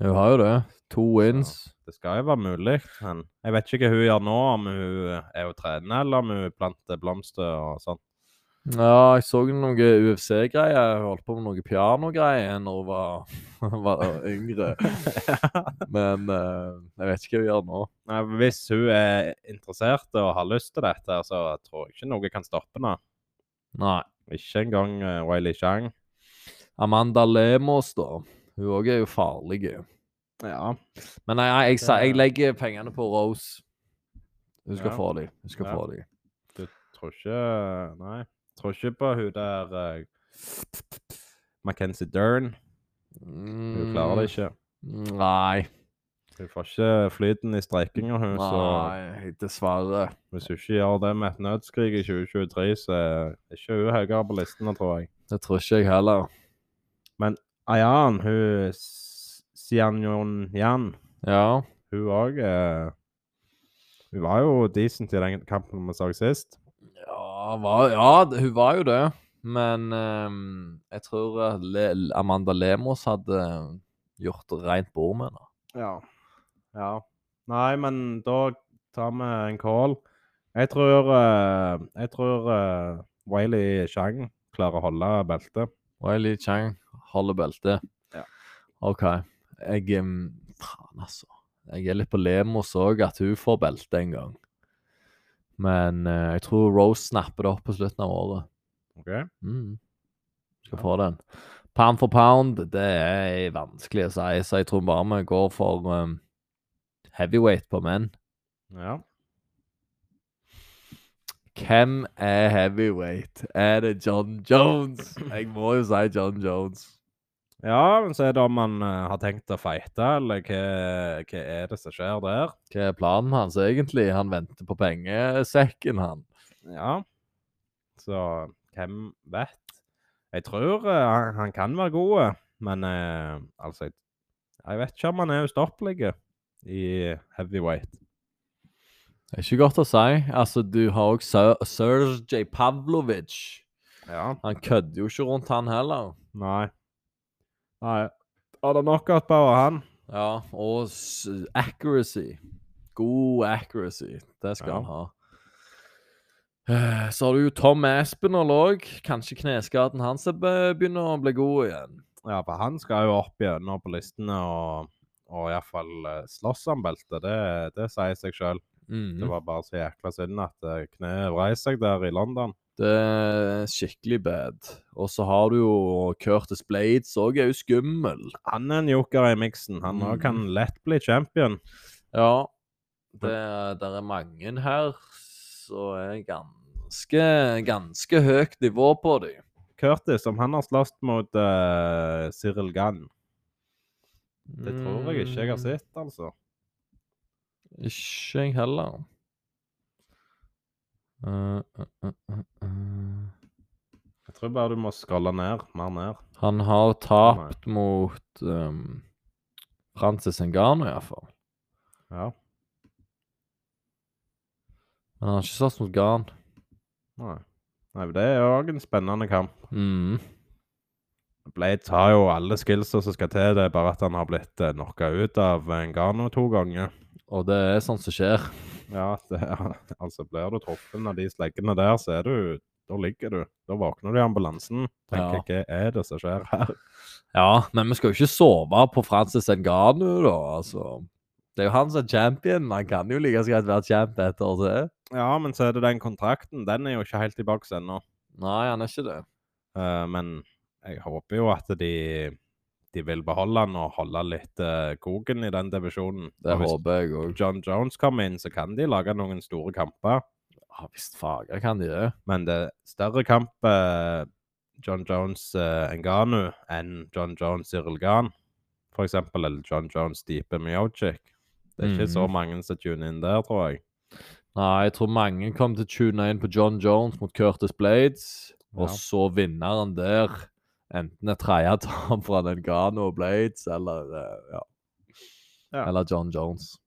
S1: Hun har jo det. To wins.
S2: Det Det skal jo være mulig. Men jeg vet ikke hva hun gjør nå, om hun eh, er jo trener, eller om hun planter blomster og sånn.
S1: Ja, jeg så noen UFC-greier. Hun holdt på med noe pianogreier da hun var, var yngre. Men eh, jeg vet ikke hva hun gjør nå.
S2: Nei, Hvis hun er interessert og har lyst til dette, så tror jeg ikke noe kan stoppe henne.
S1: Nei.
S2: Ikke engang eh, Wiley Chang.
S1: Amanda Lemos, da. Hun òg er jo farlig.
S2: Ja.
S1: Men nei, nei, jeg, sa- jeg legger pengene på Rose. Hun skal
S2: Ja.
S1: få dem. Hun skal
S2: Ja.
S1: få dem.
S2: Tror ikke Nei. Tror ikke på hun der eh, Mackenzie Dern. Hun klarer det ikke.
S1: Mm, Nei.
S2: Hun får ikke flyten i streikinga, hun. Så
S1: nei. Dessverre.
S2: hvis hun ikke gjør det med et nødskrig i 2023, så er ikke hun høyere på listene, tror jeg.
S1: Det tror ikke jeg heller.
S2: Ayan, hun Sianjon Yan,
S1: Ja.
S2: hun òg Hun var jo decent i den kampen vi så sist.
S1: Ja, var, ja d- hun var jo det. Men ehm, jeg tror at Le Amanda Lemos hadde gjort rent bord med henne.
S2: Ja. ja. Nei, men da tar vi en call. Jeg tror eh, Jeg tror eh, Wiley Chang klarer å holde beltet.
S1: Wiley Chang holder beltet.
S2: Ja.
S1: OK. Jeg ehm, Faen, altså. Jeg er litt på Lemos òg, at hun får belte en gang. Men eh, jeg tror Rose snapper det opp på slutten av året.
S2: OK?
S1: Mm. Skal
S2: Ja.
S1: få den. Pound for pound, det er vanskelig å si, så jeg tror bare vi går for um, heavyweight på menn.
S2: Ja.
S1: Hvem er heavyweight? Er det John Jones? Jeg må jo si John Jones.
S2: Ja, men så er det om han eh, har tenkt å fighte, eller hva, hva er det som skjer der?
S1: Hva er planen hans egentlig? Han venter på pengesekken, han.
S2: Ja. Så hvem vet? Jeg tror eh, han, han kan være god, men eh, altså jeg, jeg vet ikke om han er ustoppelig eh, i heavyweight.
S1: Det er ikke godt å si. Altså, du har òg Sergej Pavlovic.
S2: Ja.
S1: Han kødder jo ikke rundt, han heller.
S2: Nei. Nei. Har det knockout power, han?
S1: Ja, og s accuracy. God accuracy. Det skal
S2: Ja.
S1: han ha. Eh, Så har du jo Tom Aspinall òg. Kanskje kneskaden hans er be- begynner å bli god igjen.
S2: Ja, for han skal jo opp gjennom på listene og, og iallfall eh, slåss om beltet. Det, det sier seg sjøl. Det
S1: Mhm.
S2: var bare så jækla synd at eh, kneet vrei seg der i London.
S1: Det er skikkelig bad. Og så har du jo Curtis Blades òg, er jo skummel.
S2: Han er en joker i miksen. Han også
S1: Mm.
S2: kan lett bli champion.
S1: Ja, det der er mange her som er ganske, ganske høyt nivå på dem.
S2: Curtis, om han har slåss mot eh, Cyril Gann Det tror jeg ikke jeg har sett, altså.
S1: Mm, Ikke jeg heller. Eh, eh, eh, eh, eh.
S2: Jeg tror bare du må skrolle ned, mer ned.
S1: Han har tapt mot um, Francis Ngannou, iallfall.
S2: Ja.
S1: Men han har ikke slåss mot Gan.
S2: Nei. Nei, men det er òg en spennende kamp.
S1: Mm.
S2: Blades har jo alle skillsa som skal til, det er bare at han har blitt eh, knocka ut av Ngano to ganger.
S1: Og det er sånt som skjer.
S2: Ja, det, altså blir du truffet av de sleggene der, så er du Da ligger du. Da våkner du i ambulansen. Tenker hva er det som skjer her?
S1: Ja, men vi skal jo ikke sove på Francis Ngannou, da. altså. Det er jo han som er champion. Han kan jo like så greit være champ etter det.
S2: Ja, men så er det den kontrakten. Den er jo ikke helt i boks ennå.
S1: Nei, han er ikke det.
S2: Eh, men jeg håper jo at de, de vil beholde han og holde litt eh, koken i den divisjonen.
S1: Det
S2: Og hvis
S1: håper jeg òg.
S2: John Jones kommer inn, så kan de lage noen store kamper.
S1: Ja visst fager kan de det.
S2: Men det er større kamp eh, John Jones uh, Enganu enn John Jones Cyril Gahn, for eksempel, eller John Jones Deepe Miocic. Det er ikke så
S1: Mhm.
S2: mange som tuner inn der, tror jeg.
S1: Nei, jeg tror mange kom til å tune inn på John Jones mot Curtis Blades, og
S2: Ja.
S1: så vinneren der. Enten et tredje tap fra Nengano og Blades, eller eh, ja.
S2: Ja.
S1: Eller John Jones.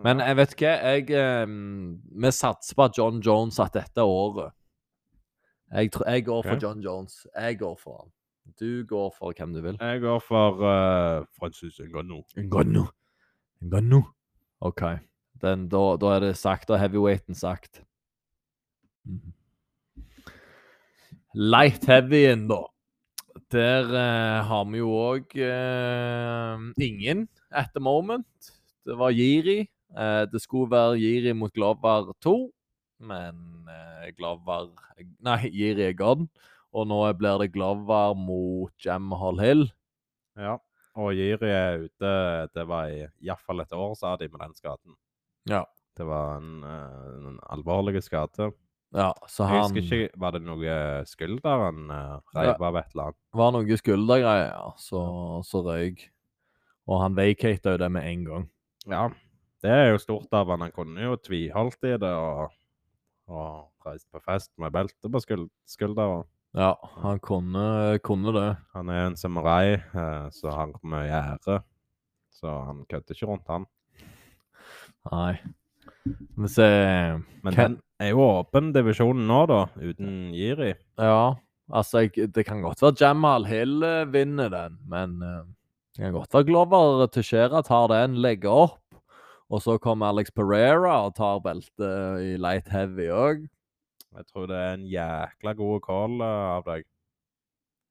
S1: Men jeg vet ikke, jeg eh, Vi satser på at John Jones at dette er året. Jeg, tror, jeg går for
S2: Ok.
S1: John Jones. Jeg går for han. Du går for hvem du vil.
S2: eh, Jeg går for uh, Francis Engano.
S1: Ngannou. Ngannou. OK. Den, da, da er det sagt, da er heavyweighten sagt.
S2: Mhm.
S1: Light heavyen, da. Der eh, har vi jo òg eh, ingen at the moment. Det var Jiri. Eh, det skulle være Jiri mot Glover 2, men eh, Glover Nei, Jiri er gone. Og nå blir det Glover mot Jamhall Hill.
S2: Ja. Og Jiri er ute Det var iallfall et år, sa de, med den skaden.
S1: Ja.
S2: Det var en, eh, en alvorlig skade.
S1: Ja, så
S2: Jeg
S1: han
S2: husker ikke Var det noe skulder han eh, reiv av et eller annet?
S1: var noe skuldergreier, så, så røyk. Og han vacata jo det med en gang.
S2: Ja. Det er jo stort av han. Han kunne jo tviholdt i det og, og reist på fest med belte på skul- skulderen.
S1: Ja, han kunne, kunne det.
S2: Han er jo en samurai eh, som har mye ære, så han kødder ikke rundt han.
S1: Nei. Men se
S2: Men
S1: Hvem-
S2: den er jo åpen divisjonen nå, da, uten Jiri.
S1: Ja, altså, jeg, det kan godt være Jamal Hill eh, vinner den, men eh, det kan godt være Glover Teixeira tar den, legger opp, og så kommer Alex Pereira og tar beltet i light heavy òg.
S2: Jeg tror det er en jækla god call eh, av deg.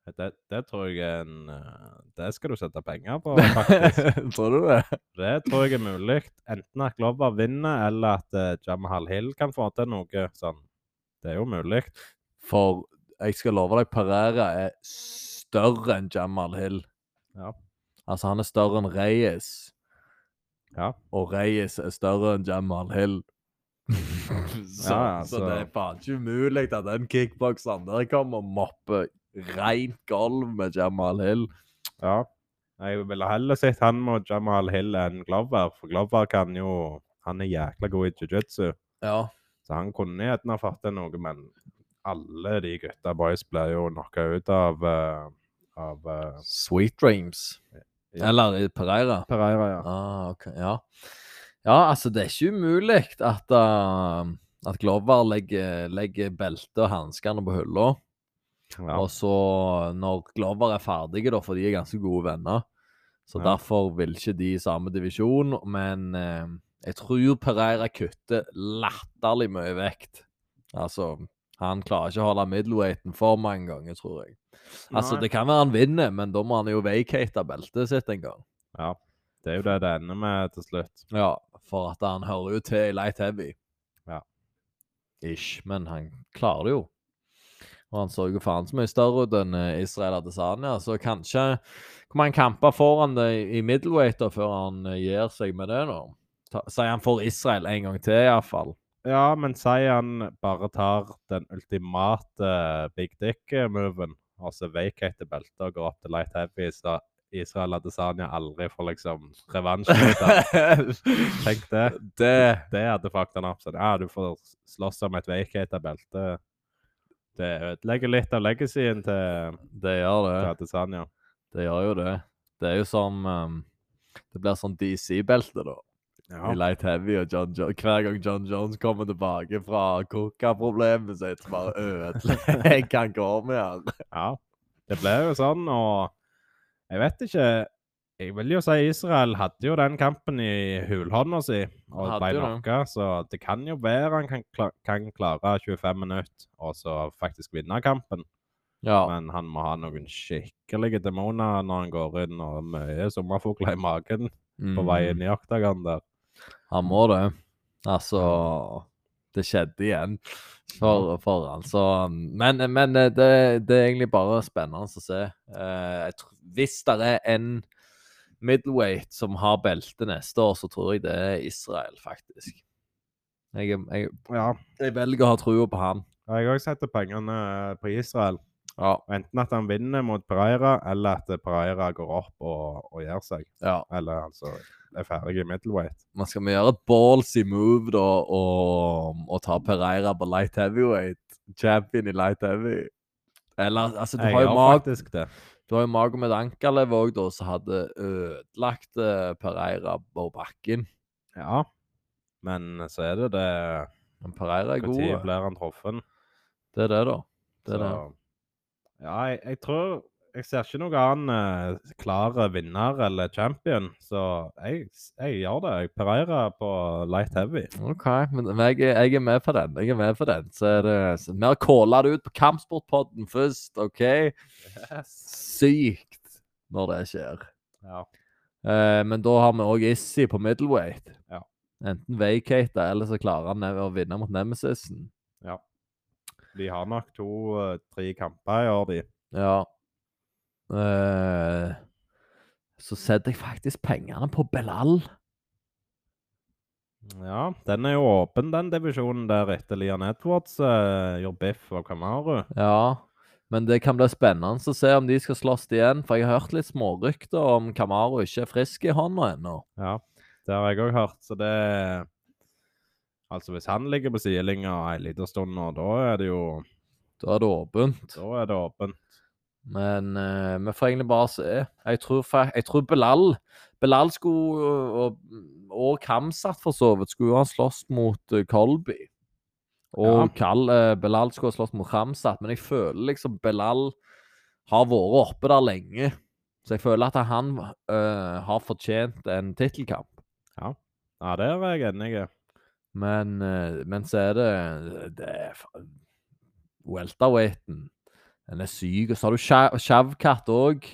S2: Eh, Det, det tror jeg er en eh, Det skal du sette penger på, faktisk.
S1: Tror du det?
S2: det tror jeg er mulig. Enten at Glover vinner, eller at eh, Jamahal Hill kan få til noe sånn. Det er jo mulig.
S1: For jeg skal love deg, Pereira er større enn Jamal Hill.
S2: Ja.
S1: Altså, han er større enn Reyes,
S2: Ja.
S1: og Reyes er større enn Jamal Hill. så,
S2: Ja, ja,
S1: så
S2: så-
S1: det er faen ikke umulig at den kickbokseren der kommer og mopper rent gulv med Jamal Hill.
S2: ja. Jeg ville heller sett han mot Jamahal Hill enn Glover, for Glover kan jo Han er jækla god i jiu-jitsu.
S1: Ja.
S2: Så han kunne gjerne ha fått til noe, men alle de gutta boys ble jo knocka ut av, eh, av eh,
S1: Sweet dreams.
S2: Ja.
S1: Eller i Pereira.
S2: Pereira, ja.
S1: Ah, ok, ja. ja, altså det er ikke umulig at, uh, at Glover legger, legger beltet og hanskene på hylla.
S2: ja.
S1: Og så når Glover er ferdige, da, for de er ganske gode venner Så
S2: Ja.
S1: derfor vil ikke de i samme divisjon, men eh, jeg tror Pereira kutter latterlig mye vekt. Altså, han klarer ikke å holde middleweighten for mange ganger, tror jeg. Altså,
S2: Nei.
S1: det kan være han vinner, men da må han jo vacate beltet sitt en gang.
S2: ja. Det er jo det det ender med til slutt.
S1: Ja, for at han hører jo til i light heavy.
S2: Ja.
S1: Ish, men han klarer det jo. Og han så jo faen så mye større ut enn eh, Israel Adesanya, så kanskje kommer han kampe foran det i- i middleweight da, før han eh, gir seg med det nå. Ta- Sier han får Israel en gang til iallfall.
S2: Ja, men si han bare tar den ultimate eh, big dick-moven, og så vacater beltet og går opp til light heavy, så Israel Adesanya aldri får liksom revansj mot ham. Tenk det.
S1: det
S2: Det hadde fucket han opp. Sånn, ja, du får slåss om et veikheita belte. Det ødelegger litt av legacyen til,
S1: Det gjør det.
S2: til Adesanya.
S1: Det gjør jo det. Det er jo som ehm, Det blir sånn DC-belte, da.
S2: Ja.
S1: i Light Heavy, og John jo hver gang John Jones kommer tilbake fra kokaproblemet sitt, så bare ødelegger han går med her.
S2: ja. Det ble jo sånn, og jeg vet ikke Jeg vil jo si Israel hadde jo den kampen i hulhånda si, og
S1: Han hadde
S2: ble
S1: jo det.
S2: knocka, så det kan jo være han kan, kla kan klare 25 minutter og så faktisk vinne kampen.
S1: Ja,
S2: Men han må ha noen skikkelige demoner når han går inn, og mye sommerfugler i magen på vei inn i oktagon der.
S1: Mm. han må det. Altså Det skjedde igjen for, for han, så Men, men eh, det, det er egentlig bare spennende å se. Eh, jeg tr hvis det er en middleweight som har belte neste år, så tror jeg det er Israel, faktisk. Jeg, er- jeg,
S2: Ja,
S1: jeg velger å ha trua på han.
S2: jeg òg setter pengene eh, på Israel.
S1: Ja.
S2: Enten at han vinner mot Pereira, eller at Pereira går opp og, og gjør seg.
S1: ja.
S2: Eller altså er ferdig i middleweight.
S1: Man skal vi gjøre et ballsy move, da, og, og ta Pereira på light heavyweight? Champion i light heavy? Eller altså, du
S2: Jeg
S1: har jo
S2: gjør
S1: Mag-
S2: faktisk det.
S1: du har jo Magomed Ankalev òg, da, som hadde ødelagt eh, Pereira på bakken.
S2: Ja. Men eh, så er det det
S1: Men Pereira er god.
S2: Når
S1: eh.
S2: blir han truffet?
S1: Det er det, da. Det er det.
S2: Så- Ja, jeg, jeg tror jeg ser ikke noen annen eh, klare vinner eller champion, så jeg, jeg gjør det. Jeg Pereira på light heavy.
S1: OK, men men jeg, er- jeg er med på den. Jeg er med på den. Så er det så mer calle det ut på Kampsportpodden først, OK? Sykt når det skjer.
S2: Ja.
S1: Eh, men da har vi òg Issi på middleweight.
S2: Ja.
S1: Enten vacate, eller så klarer han ne- å vinne mot Nemesisen.
S2: De har nok to-tre kamper i år, de.
S1: Ja. Eh, så setter jeg faktisk pengene på Belal.
S2: Ja, den er jo åpen, den divisjonen der etter Lian Edwards eh, gjorde biff av Kamaru.
S1: Ja. Men det kan bli spennende å se om de skal slåss igjen, for jeg har hørt litt smårykter om Kamaro ikke er frisk i hånda ennå.
S2: Ja, det har jeg òg hørt, så det Altså, hvis han ligger på sidelinja ei lita stund nå, da er det jo
S1: Da er det åpent.
S2: Da er det åpent.
S1: Men eh, vi får egentlig bare se. Jeg tror, fa- jeg tror Belal Belal skulle, eh, og, og Kamsat for så vidt, skulle jo ha slåss mot eh, Colby. Og
S2: Ja.
S1: Kal, eh, Belal skulle ha slåss mot Kamsat, men jeg føler liksom Belal har vært oppe der lenge. Så jeg føler at han eh, har fortjent en tittelkamp.
S2: Ja, der er jeg enig. i.
S1: Men, eh, men så er det, det er fa- Welterweighten. Den er syk. Og så har du Sha- Shavkat òg.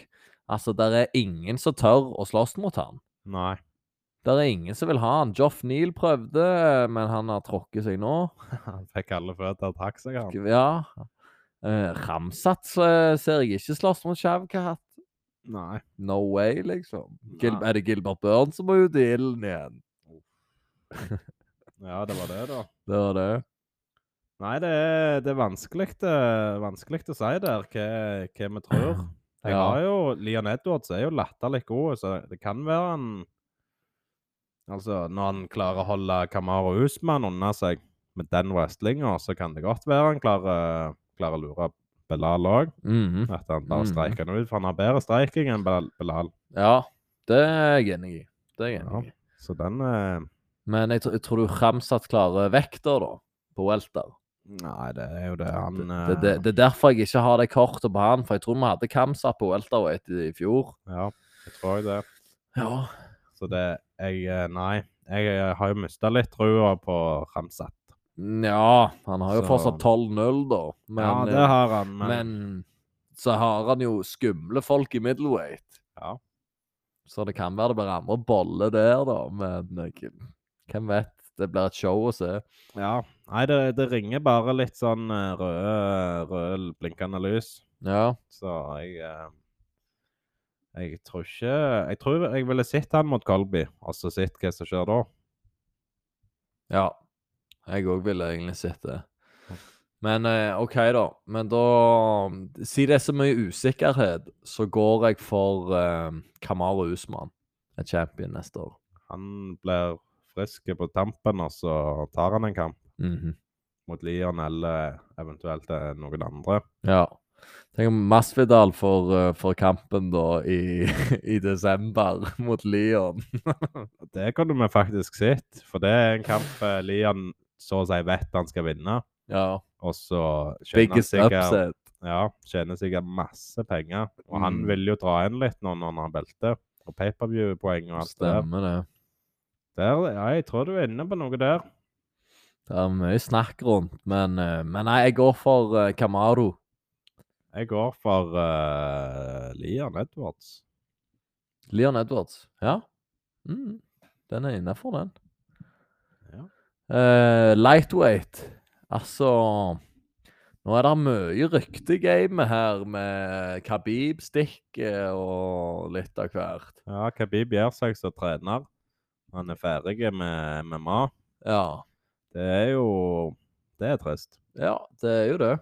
S1: Altså, der er ingen som tør å slåss mot han.
S2: Nei.
S1: Der er ingen som vil ha han. Joff Neal prøvde, eh, men han har tråkket seg nå.
S2: Han fikk alle føtter og trakk seg, han.
S1: Ja. Eh, Ramsat eh, ser jeg ikke slåss mot Shavkat.
S2: Nei.
S1: No way, liksom. Gil
S2: Nei.
S1: er det Gilbert Børn som må ut i ilden igjen?
S2: Ja, det var det, da.
S1: Det var det.
S2: Nei, det er, det er vanskelig, det, vanskelig å si der hva, hva vi tror. Jeg
S1: Ja.
S2: har jo, Leon Edwards er jo latterlig god, så det kan være han Altså, når han klarer å holde Kamara Usman unna seg med den wrestlinga, så kan det godt være han klarer, klarer å lure Belal òg.
S1: Mhm.
S2: At han bare
S1: Mhm.
S2: streiker han ut, for han har bedre streiking enn Bel- Belal.
S1: Ja, det er jeg enig i. Det er jeg enig
S2: Ja.
S1: i.
S2: Så den eh,
S1: Men jeg, tr- jeg tror du Ramsat klarer vekter, da, på welter.
S2: Nei, det er jo det han
S1: Det, det,
S2: eh,
S1: det, det er derfor jeg ikke har det kortet på han, for jeg tror vi hadde Kamsat på welterweight i, i fjor.
S2: Ja, jeg tror det.
S1: Ja.
S2: Så det jeg eh, Nei. Jeg eh, har jo mista litt trua på Ramsat.
S1: Nja, han har jo
S2: Så-
S1: fortsatt 12-0, da. Men, eh,
S2: Ja, det har han,
S1: men...
S2: men,
S1: så har han jo skumle folk i middleweight.
S2: Ja.
S1: Så det kan være det blir andre boller der, da. Men eh, hvem- hvem vet? Det blir et show å se.
S2: ja. Nei, det, det ringer bare litt sånn eh, røde, røde blinkende lys.
S1: Ja.
S2: Så jeg eh, Jeg tror ikke Jeg tror jeg ville sett han mot Colby, og så sett hva som skjer da.
S1: Ja. Jeg òg ville egentlig sett det. Men eh, OK, da. Men da Si det er så mye usikkerhet, så går jeg for eh, Kamaru Usman. Er champion neste år.
S2: Han blir frisk på tampen, og så tar han en kamp
S1: Mhm.
S2: mot Lian eller eventuelt eh, noen andre.
S1: Ja. Tenk om Masvidal får, eh, får kampen da i, i desember mot Leon.
S2: Det kan vi faktisk sett, for det er en kamp eh, Lian så å si vet han skal vinne.
S1: Ja.
S2: Og så tjener han
S1: Biggest
S2: sikkert,
S1: upset.
S2: ja, tjener sikkert masse penger. Og han
S1: Mm.
S2: vil jo dra inn litt nå når han har belte. Og pay-per-view-poeng og alt det der.
S1: Stemmer det.
S2: der. Ja, jeg tror du er inne på noe der.
S1: Det er mye snakk rundt, men, eh, men nei, jeg går for eh, Kamaru.
S2: Jeg går for uh, Lian Edwards.
S1: Leon Edwards. Ja. Mm. Den er innafor, den.
S2: Ja.
S1: Eh, lightweight. Altså Nå er det mye ryktegame her med Khabib, stikket og litt av hvert.
S2: Ja, Khabib gjør seg som trener. Han er ferdig med MMA.
S1: Ja.
S2: Det er jo Det er trist.
S1: ja, det er jo det.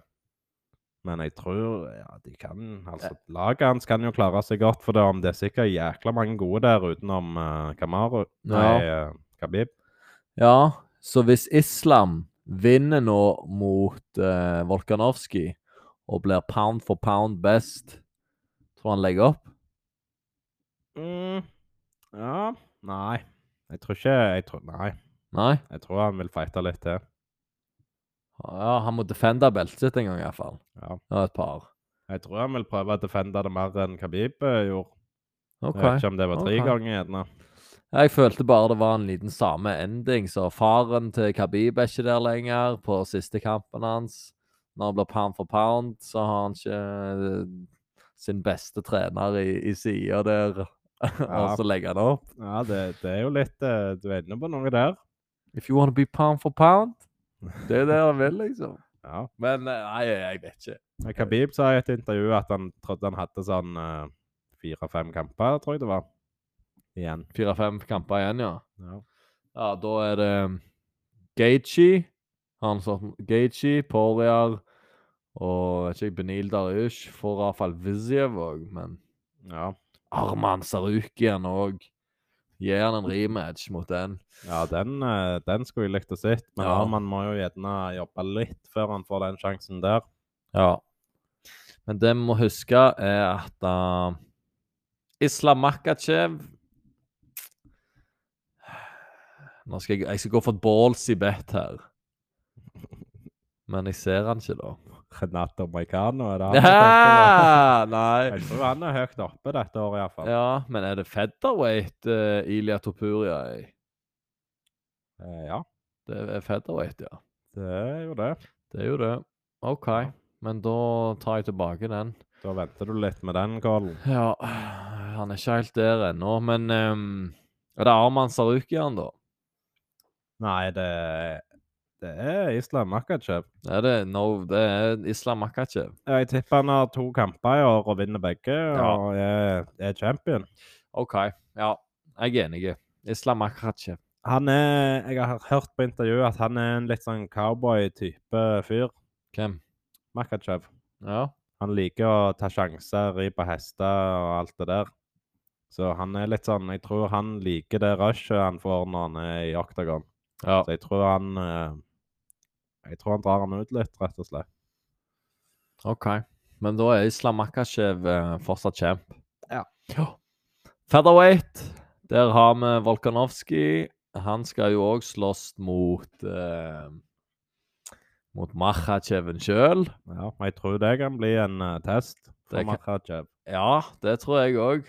S2: Men jeg tror ja, de kan altså, Laget hans kan jo klare seg godt, for det, om det er sikkert jækla mange gode der utenom eh, Kamaru Nei, eh, Khabib.
S1: Ja, så hvis Islam vinner nå mot uh, Volkanovskij og blir pound for pound best, tror han legger opp?
S2: Mm. Ja Nei. Jeg tror ikke jeg tror, Nei.
S1: Nei?
S2: Jeg tror han vil fighte litt til.
S1: Ja, han må defende beltet sitt en gang, iallfall.
S2: Ja.
S1: Ja, et par.
S2: Jeg tror han vil prøve å defende det mer enn Khabib eh, gjorde. Jeg vet
S1: OK.
S2: ikke om det var tre
S1: ok.
S2: ganger, gjerne.
S1: Jeg følte bare det var en liten samme ending, så faren til Khabib er ikke der lenger på siste kampen hans. Når han blir pound for pound, så har han ikke eh, sin beste trener i, i sida der.
S2: Ja.
S1: og så legger han opp.
S2: Ja, det, det er jo litt eh, Du er inne på noe der.
S1: If you wanna be pound for pound. Det er jo det han vil, liksom.
S2: Ja.
S1: Men eh, nei, jeg vet ikke.
S2: Men Khabib sa i et intervju at han trodde han hadde sånn eh, fire-fem kamper, tror jeg det var. Igjen.
S1: Fire-fem kamper igjen, ja.
S2: Ja.
S1: Ja, da er det Gaethje, Han som Gaethje, Poirier og vet ikke, Benil Dariush får Rafael Viziev òg, men
S2: ja.
S1: Arman Sarukian òg. Gir han en rematch mot den?
S2: Ja, den, eh, den skulle jeg likt å se. Men
S1: Ja.
S2: Arman må jo gjerne jobbe litt før han får den sjansen der.
S1: Ja. Men det vi må huske, er at uh, Islam Makachev Nå skal jeg, jeg skal gå for et ballsy bet her. Men jeg ser han ikke, da.
S2: Renato Maicano er det han tenker på.
S1: Ja, nei.
S2: Jeg tror han er høyt oppe dette året, iallfall.
S1: Ja, men er det featherweight uh, Ilya Topuria er?
S2: fall. Eh, ja,
S1: Det er featherweight, ja.
S2: det er jo det.
S1: Det er jo det. OK, men da tar jeg tilbake den.
S2: Da venter du litt med den callen.
S1: Ja, han er ikke helt der ennå, men ehm, Er det Arman Sarukian, da?
S2: Nei, det, det er Islam Makachev.
S1: Er det, no, det er Islam Makachev.
S2: Jeg tipper han har to kamper i år og vinner begge
S1: Ja.
S2: og er, er champion.
S1: OK, ja. Jeg er enig. Islam Makachev.
S2: Han er, Jeg har hørt på intervjuet at han er en litt sånn cowboy-type fyr.
S1: Hvem?
S2: Makachev.
S1: Ja.
S2: Han liker å ta sjanser, ri på hester og alt det der. Så han er litt sånn Jeg tror han liker det rushet han får når han er i Octagon.
S1: ja.
S2: Så jeg tror han eh, Jeg tror han drar han ut litt, rett og slett.
S1: OK. Men da er Islam Makachev eh, fortsatt champ.
S2: Ja.
S1: Featherweight. Der har vi Volkanovskij. Han skal jo òg slåss mot eh, Mot Makacheven sjøl.
S2: Ja, og jeg tror det kan bli en eh, test for
S1: Det kan-
S2: Makhachev.
S1: Ja, det tror jeg òg.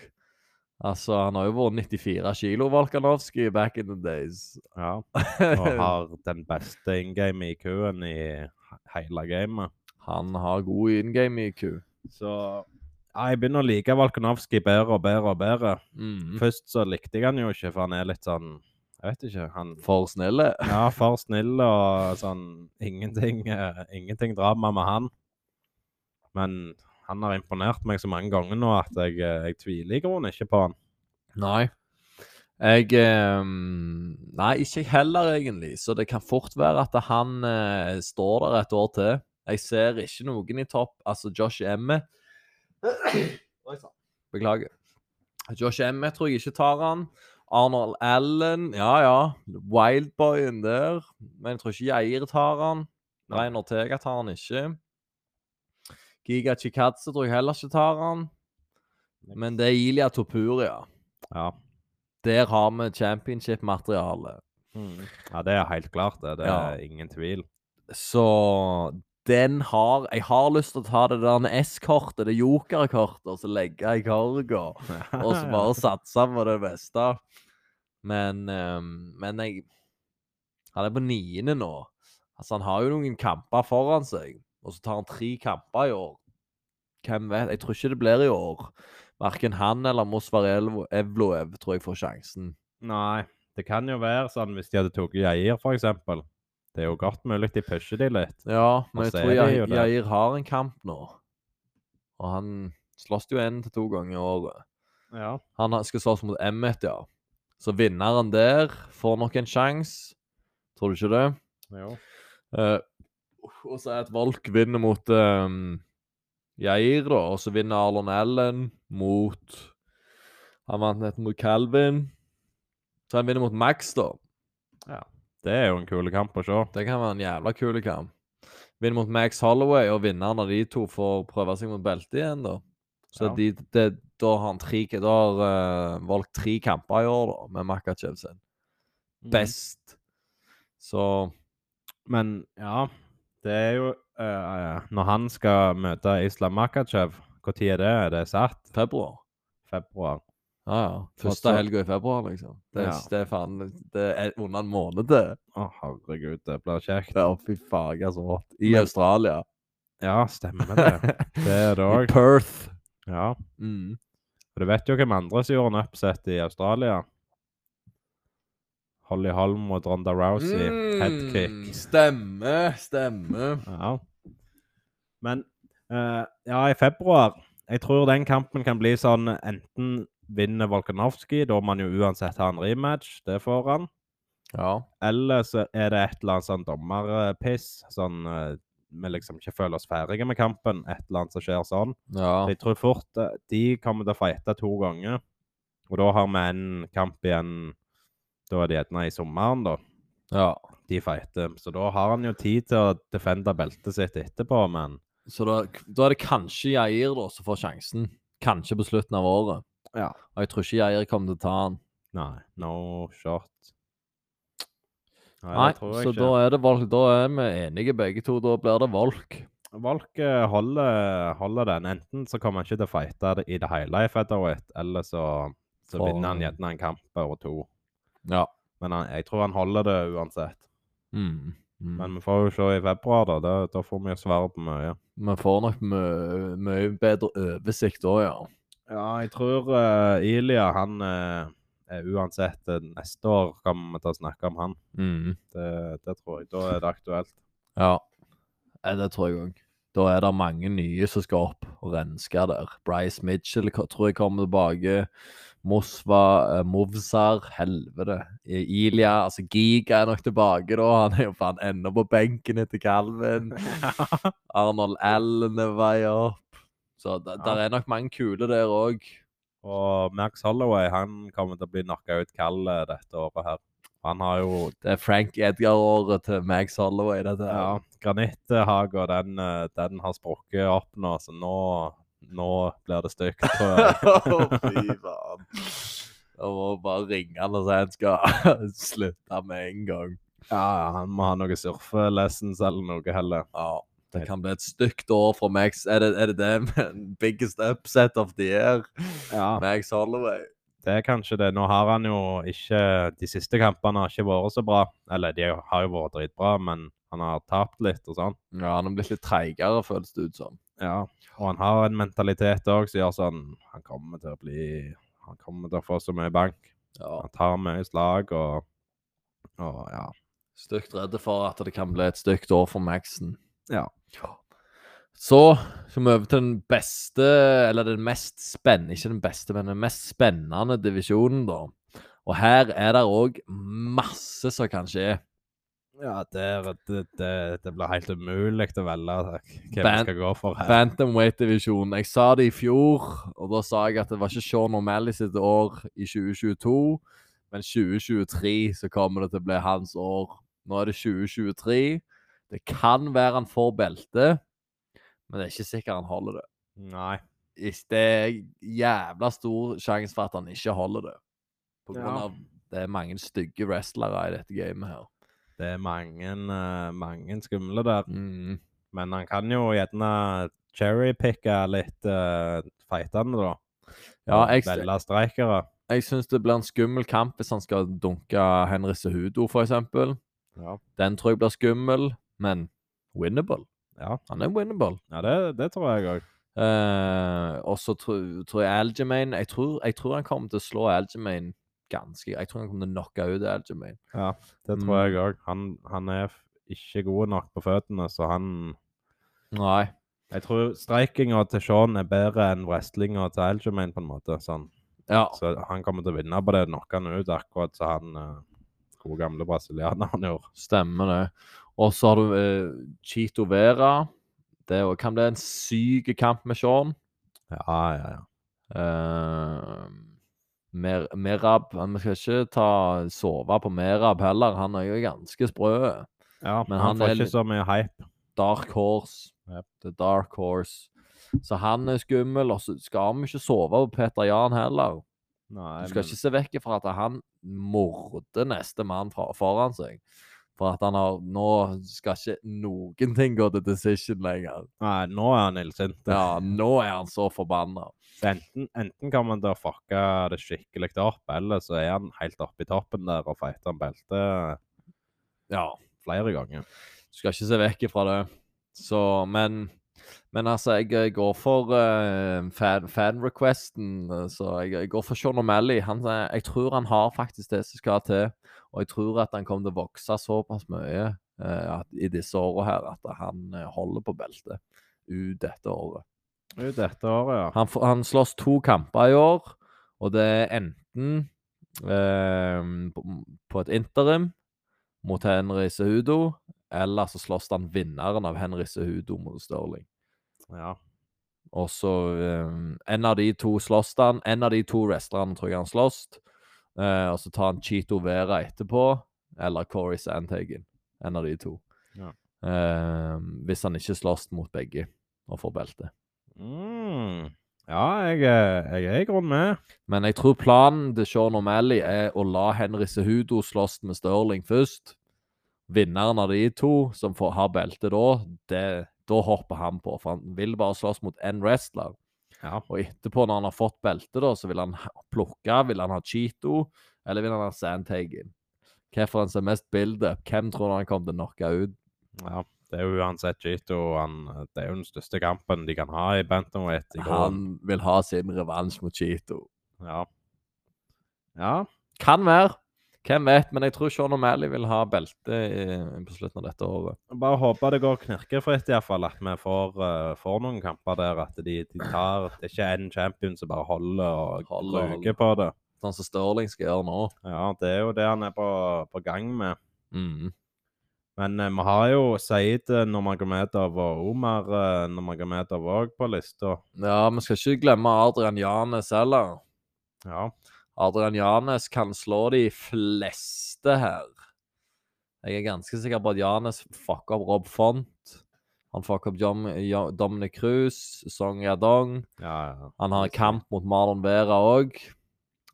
S1: Altså, han har jo vært 94 kilo, Volkanovskij, back in the days.
S2: Ja, og har den beste ingame-IQ-en i he- hele gamet.
S1: Han har god in-game IQ.
S2: Så ja, jeg begynner å like Valkonovskij bedre og bedre og bedre.
S1: Mm.
S2: Først så likte jeg han jo ikke, for han er litt sånn Jeg vet ikke. Han
S1: For snille.
S2: Ja, for snill og sånn Ingenting, eh, ingenting drama med han. Men han har imponert meg så mange ganger nå at jeg, eh, jeg tviler i grunnen ikke på han.
S1: Nei. Jeg ehm, Nei, ikke jeg heller, egentlig. Så det kan fort være at han eh, står der et år til. Jeg ser ikke noen i topp. Altså, Josh Emme Oi, sann. Beklager. Josh Emme tror jeg ikke tar han. Arnold Allen, ja ja. Wildboyen der. Men jeg tror ikke Geir tar han.
S2: Nei.
S1: Rein Ortega tar han ikke. Giga Chikadze tror jeg heller ikke tar han. Men det er Ilya Topuria.
S2: Ja,
S1: Der har vi championship-materiale.
S2: ja det er helt klart, det. Det
S1: Mm. Ja.
S2: er ingen tvil.
S1: Så den har Jeg har lyst til å ta det der S-kortet, det jokerkortet, og så legge i korga. Og så bare satse på det beste. Men, ehm, men jeg Han er på niende nå. Altså, han har jo noen kamper foran seg. Og så tar han tre kamper i år. Hvem vet? Jeg tror ikke det blir i år. Verken han eller Mosvar Elvo- Evloev tror jeg får sjansen.
S2: Nei, det kan jo være sånn hvis de hadde tatt Jair, for eksempel. Det er jo godt mulig de pusher de litt.
S1: Ja, men jeg
S2: så er
S1: tror
S2: det
S1: Jair,
S2: jo det.
S1: Jair har en kamp nå. Og han slåss jo én til to ganger i året.
S2: Ja.
S1: Han har- skal slåss mot Emmet, ja. Så vinneren der får nok en sjanse. Tror du ikke det?
S2: Jo.
S1: Eh, og så er at Volk vinner mot eh, Jair, da. Og så vinner Arlon Allen mot Han vant nettopp mot Calvin. Så han vinner mot Max, da.
S2: Det er jo en kul kamp å se.
S1: Det kan være en jævla kul kamp. Vinne mot Max Holloway, og vinneren av de to får prøve seg mot beltet igjen, da. Så
S2: Ja.
S1: de, det, da har han tre, da har eh, valgt tre kamper i år, da, med Makachev Mhm. sin. Best. Så
S2: Men ja, Det er jo eh, Når han skal møte Islam Makachev, når er det? Er det satt?
S1: Februar.
S2: Februar?
S1: Ja, ja. Første
S2: Også-
S1: helga i februar, liksom. Det er,
S2: Ja.
S1: det er faen Det er under en måned, det.
S2: Å, herregud, det blir kjekt.
S1: Ja, fy faen, så rått. I
S2: Men-
S1: Australia.
S2: Ja, stemmer det. Det er det
S1: I
S2: òg.
S1: Perth.
S2: Ja.
S1: Mm.
S2: Og du vet jo hvem andre som gjorde en upset i Australia? Holly Holm og Dronda Rousey. Headkick.
S1: Mm, Stemme, stemme.
S2: Ja. Men eh, ja, i februar Jeg tror den kampen kan bli sånn Enten vinner Volkanovski, da må han jo uansett ha en rematch, det får han.
S1: Ja.
S2: Eller så er det et eller annet sånn dommerpiss. Sånn eh, vi liksom ikke føler oss ferdige med kampen. Et eller annet som skjer sånn.
S1: ja.
S2: Så jeg tror fort eh, de kommer til å fighte to ganger. Og da har vi en kamp igjen Da er det gjerne i sommeren, da.
S1: ja.
S2: De fighter. Så da har han jo tid til å defende beltet sitt etterpå, men
S1: Så da, da er det kanskje Jair da, som får sjansen. Kanskje på slutten av året.
S2: Ja.
S1: Og jeg tror ikke Jair kommer til å ta han.
S2: Nei. No shot. Nei,
S1: Nei,
S2: det tror jeg
S1: så
S2: ikke.
S1: da er det Volk. Da er vi enige begge to. Da blir det Volk.
S2: Valk eh, holder, holder den. Enten så kommer han ikke til å fighte det- i det hele i featherweight, eller så, så
S1: Får
S2: vinner han
S1: han-
S2: gjerne en kamp eller to.
S1: Ja.
S2: Men han, jeg tror han holder det uansett.
S1: Mm. Mm.
S2: Men vi får jo se i februar, da. Da, da får vi jo svare på mye.
S1: Vi får nok mø- mye bedre oversikt òg, ja.
S2: Ja, jeg tror eh, Ilya, han eh, er uansett eh, Neste år kommer vi til å snakke om han.
S1: Mm.
S2: Det, det tror jeg. Da er det aktuelt.
S1: Ja. Eh, Det tror jeg òg. Da er det mange nye som skal opp og renske der. Bryce Mitchell ko- tror jeg kommer tilbake. Mosva, eh, Movsar, helvete. I- Ilya, altså Giga er nok tilbake da. Han er jo faen ennå på benken etter kalven. Arnold Allen er vei opp. Så det
S2: Ja.
S1: der er nok mange kule der òg.
S2: Og Max Holloway han kommer til å bli knocka ut kald eh, dette året her. Han har jo
S1: Det er Frank Edgar-året til Max Holloway, dette. her.
S2: ja, granitthaga, den, eh, den har sprukket opp nå, så nå, nå blir det stygt. tror jeg.
S1: Å, Fy faen. Da må vi bare ringe han og si han skal slutte med en gang.
S2: ja, han må ha noe surfelessons eller noe heller.
S1: Ja, Det kan bli et stygt år for Max. Er det er det, det biggest upset of the year?
S2: Ja,
S1: Max Holloway.
S2: det er kanskje det. Nå har han jo ikke De siste kampene har ikke vært så bra. Eller de har jo vært dritbra, men han har tapt litt og sånn.
S1: Ja, Han er blitt litt treigere, føles det ut som.
S2: Ja, og han har en mentalitet òg som gjør sånn Han kommer til å bli Han kommer til å få så mye bank.
S1: Ja,
S2: Han tar mye slag og Og ja.
S1: Stygt redde for at det kan bli et stygt år for Maxen.
S2: Ja.
S1: Så skal vi over til den beste, eller den mest spennende, ikke den beste, men den mest spennende divisjonen, da. Og her er det òg masse som kan skje.
S2: Ja, det, det, det, det blir helt umulig å velge hvem vi
S1: Ban-
S2: skal gå for her.
S1: Bantamweight-divisjonen. Jeg sa det i fjor, og da sa jeg at det var ikke Sean O'Malley sitt år i 2022, men 2023 så kommer det til å bli hans år. Nå er det 2023. Det kan være han får belte, men det er ikke sikkert han holder det.
S2: Nei.
S1: Is- Det er jævla stor sjanse for at han ikke holder det. På grunn
S2: Ja.
S1: av det er mange stygge wrestlere i dette gamet her.
S2: Det er mange, eh, mange skumle der.
S1: Mm.
S2: Men han kan jo gjerne cherrypicke litt uh, feitende, da.
S1: Ja,
S2: Og
S1: jeg,
S2: Velge streikere.
S1: jeg syns det blir en skummel kamp hvis han skal dunke Henry Sehudo, for eksempel.
S2: Ja,
S1: Den tror jeg blir skummel, men winnable.
S2: ja.
S1: Han er winnable.
S2: ja det, det tror jeg òg.
S1: Eh, og så tro- tror jeg Algermain jeg tror, jeg tror han kommer til å slå Algermain ganske Jeg tror han kommer til å knocke ut Algermain.
S2: Det tror jeg
S1: Mm.
S2: òg. Han, han er f- ikke god nok på føttene, så han
S1: Nei.
S2: Jeg tror streikinga til Sean er bedre enn wrestlinga til Algermain, på en måte. Sånn.
S1: Ja.
S2: Så han kommer til å vinne på det. Knocke han ut, akkurat som han eh, gode gamle brasilianeren gjorde.
S1: Stemmer det. Og så har du eh, Chito Vera. Det er jo- kan bli en syk kamp med Sean.
S2: Ja, ja, ja.
S1: Eh, Mer, Merab Vi skal ikke ta, sove på Merab heller. Han er jo ganske sprø.
S2: ja
S1: Men
S2: men han,
S1: han
S2: får
S1: er litt-
S2: ikke så mye hype.
S1: Dark Horse.
S2: Yep.
S1: The Dark Horse. Så han er skummel, og så skal vi ikke sove på Peter Jan heller.
S2: Nei,
S1: Du skal
S2: men-
S1: ikke se vekk fra at han morder neste mann fra, foran seg. For at han har Nå skal ikke noen ting gå til decision lenger.
S2: Nei, nå er han illsint.
S1: Ja, nå er han så forbanna.
S2: Så Enten, enten kan man da fucke det skikkelig opp, eller så er han helt oppe i toppen der og fighter om beltet
S1: Ja.
S2: flere ganger.
S1: Du skal ikke se vekk ifra det. Så, men Men altså, jeg eh, går for eh, fan, fan-requesten. eh, Så jeg, jeg går for Sean O'Malley. Han, eh, jeg tror han har faktisk det som skal til. Og jeg tror at han kommer til å vokse såpass mye eh, at, i disse åra her at han eh, holder på beltet ut dette året.
S2: Ut dette året, ja.
S1: Han, får- han slåss to kamper i år, og det er enten eh, på, på et interim mot Henry Sehudo, eller så slåss han vinneren av Henry Sehudo mot Stirling.
S2: ja.
S1: Og så eh, En av de to slåss han. En av de to wrestlerne tror jeg han slåss. Eh, og så tar han Chito Vera etterpå, eller Corey Sandhagen. En av de to.
S2: Ja.
S1: Eh, hvis han ikke slåss mot begge og får belte.
S2: Mm. Ja, jeg, eh, jeg er i grunnen med.
S1: Men jeg tror planen til Sean O'Malley er å la Henry Sehudo slåss med Stirling først. Vinneren av de to, som får ha beltet da, det, da hopper han på. For han vil bare slåss mot én wrestler.
S2: Ja.
S1: Og etterpå, når han har fått beltet, da, så vil han ha- plukke. Vil han ha Cheeto, eller vil han ha Sandhagen? Hvilken som er mest build-up? Hvem tror du han kommer til å knocke ut?
S2: ja. Det er jo uansett Gito. Han, det er jo den største kampen de kan ha i Bantamweight. i grunnen.
S1: Han vil ha sin revansj mot Cheeto.
S2: Ja. ja.
S1: Kan være. Hvem vet? Men jeg tror Sean O'Malley vil ha belte i- på slutten av dette året.
S2: Bare håpe det går knirkefritt, iallfall. At vi får, eh, får noen kamper der at de, de tar Det er ikke én champion som bare holder og
S1: Holder og holder.
S2: bruker på det.
S1: Sånn som Stirling skal gjøre nå.
S2: Ja, Det er jo det han er på, på gang med.
S1: Mm.
S2: Men eh, vi har jo Saeed eh, Nurmagomedov og Omar eh, Nurmagomedov òg på lista.
S1: Ja, vi skal ikke glemme Adrian Janes heller.
S2: Ja.
S1: Adrian Janes kan slå de fleste her. Jeg er ganske sikker på at Janes fucker opp Rob Font. Han fucker opp Jom, Jo- Dominic Cruz, Song Yadong.
S2: ja, ja.
S1: Han har en kamp mot Marlon Vera òg.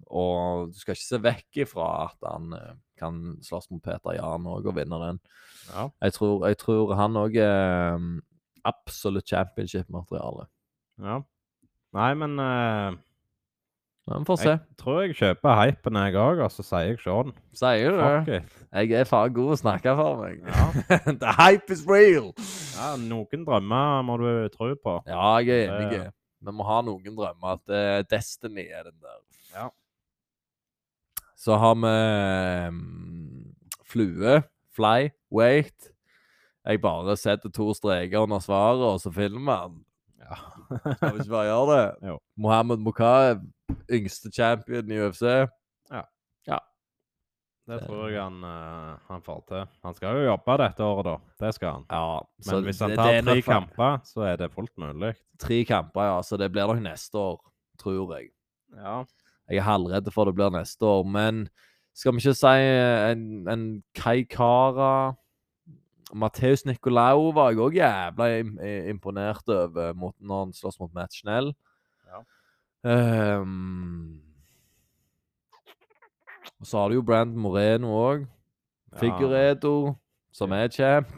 S1: Og du skal ikke se vekk ifra at han eh, kan slåss mot Peter Jan òg og vinne den.
S2: Ja.
S1: Jeg tror, jeg tror han òg er mm, absolutt championship-materiale.
S2: ja. Nei, men eh,
S1: Men vi får se.
S2: tror jeg kjøper hypen, jeg òg, og så sier jeg Sean.
S1: Sier du det?
S2: Fuck it.
S1: Jeg er faen god å snakke for meg.
S2: Ja.
S1: The hype is real!
S2: ja, noen drømmer må du tro på.
S1: Ja, jeg er
S2: Det-
S1: enig. Vi må ha noen drømmer. At eh, Destiny er den der.
S2: Ja.
S1: Så har vi mm, flue, fly, wait. Jeg bare setter to streker under svaret, og så filmer han.
S2: Ja.
S1: Skal vi ikke bare gjøre det?
S2: Jo.
S1: Mohammed Mokaev, yngste champion i UFC.
S2: Det
S1: Det-
S2: tror jeg han, eh, han får til. Han skal jo jobbe dette året, da. Det skal han.
S1: Ja,
S2: Men
S1: så
S2: hvis han
S1: det-
S2: tar
S1: det er
S2: tre
S1: nok-
S2: kamper, så er det fullt mulig.
S1: Tre kamper, ja. Så det blir nok neste år, tror jeg.
S2: Ja.
S1: Jeg er halvredd for det blir neste år, men skal vi ikke si eh, en, en Kai Kara Matheus Nicolau var jeg òg jævla im- i- imponert over mot, når han slåss mot Matt Schnell.
S2: Ja.
S1: Ehm, og så har du jo Brandon Moreno òg. Figuredo, som er champ.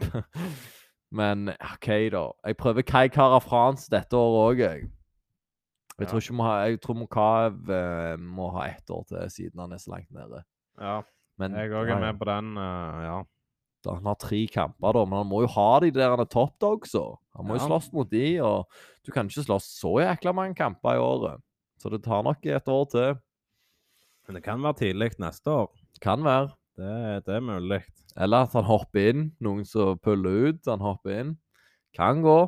S1: Men OK, da. Jeg prøver Kai Kara France dette året òg, jeg. Jeg tror
S2: Ja.
S1: ikke må ha, jeg tror Mokaev eh, må ha ett år til, siden han er så langt nede.
S2: Ja,
S1: Men
S2: jeg òg
S1: ja,
S2: er med på den. eh, ja.
S1: da, han har tre kamper, da, men han må jo ha de der han er top dogs òg. Han må
S2: Ja.
S1: jo slåss mot de, og du kan ikke slåss så jækla mange kamper i året. Så det tar nok et år til.
S2: Men det kan være tidlig neste år.
S1: Kan være.
S2: Det, det er mulig.
S1: Eller at han hopper inn. Noen som puller ut, han hopper inn. Kan gå.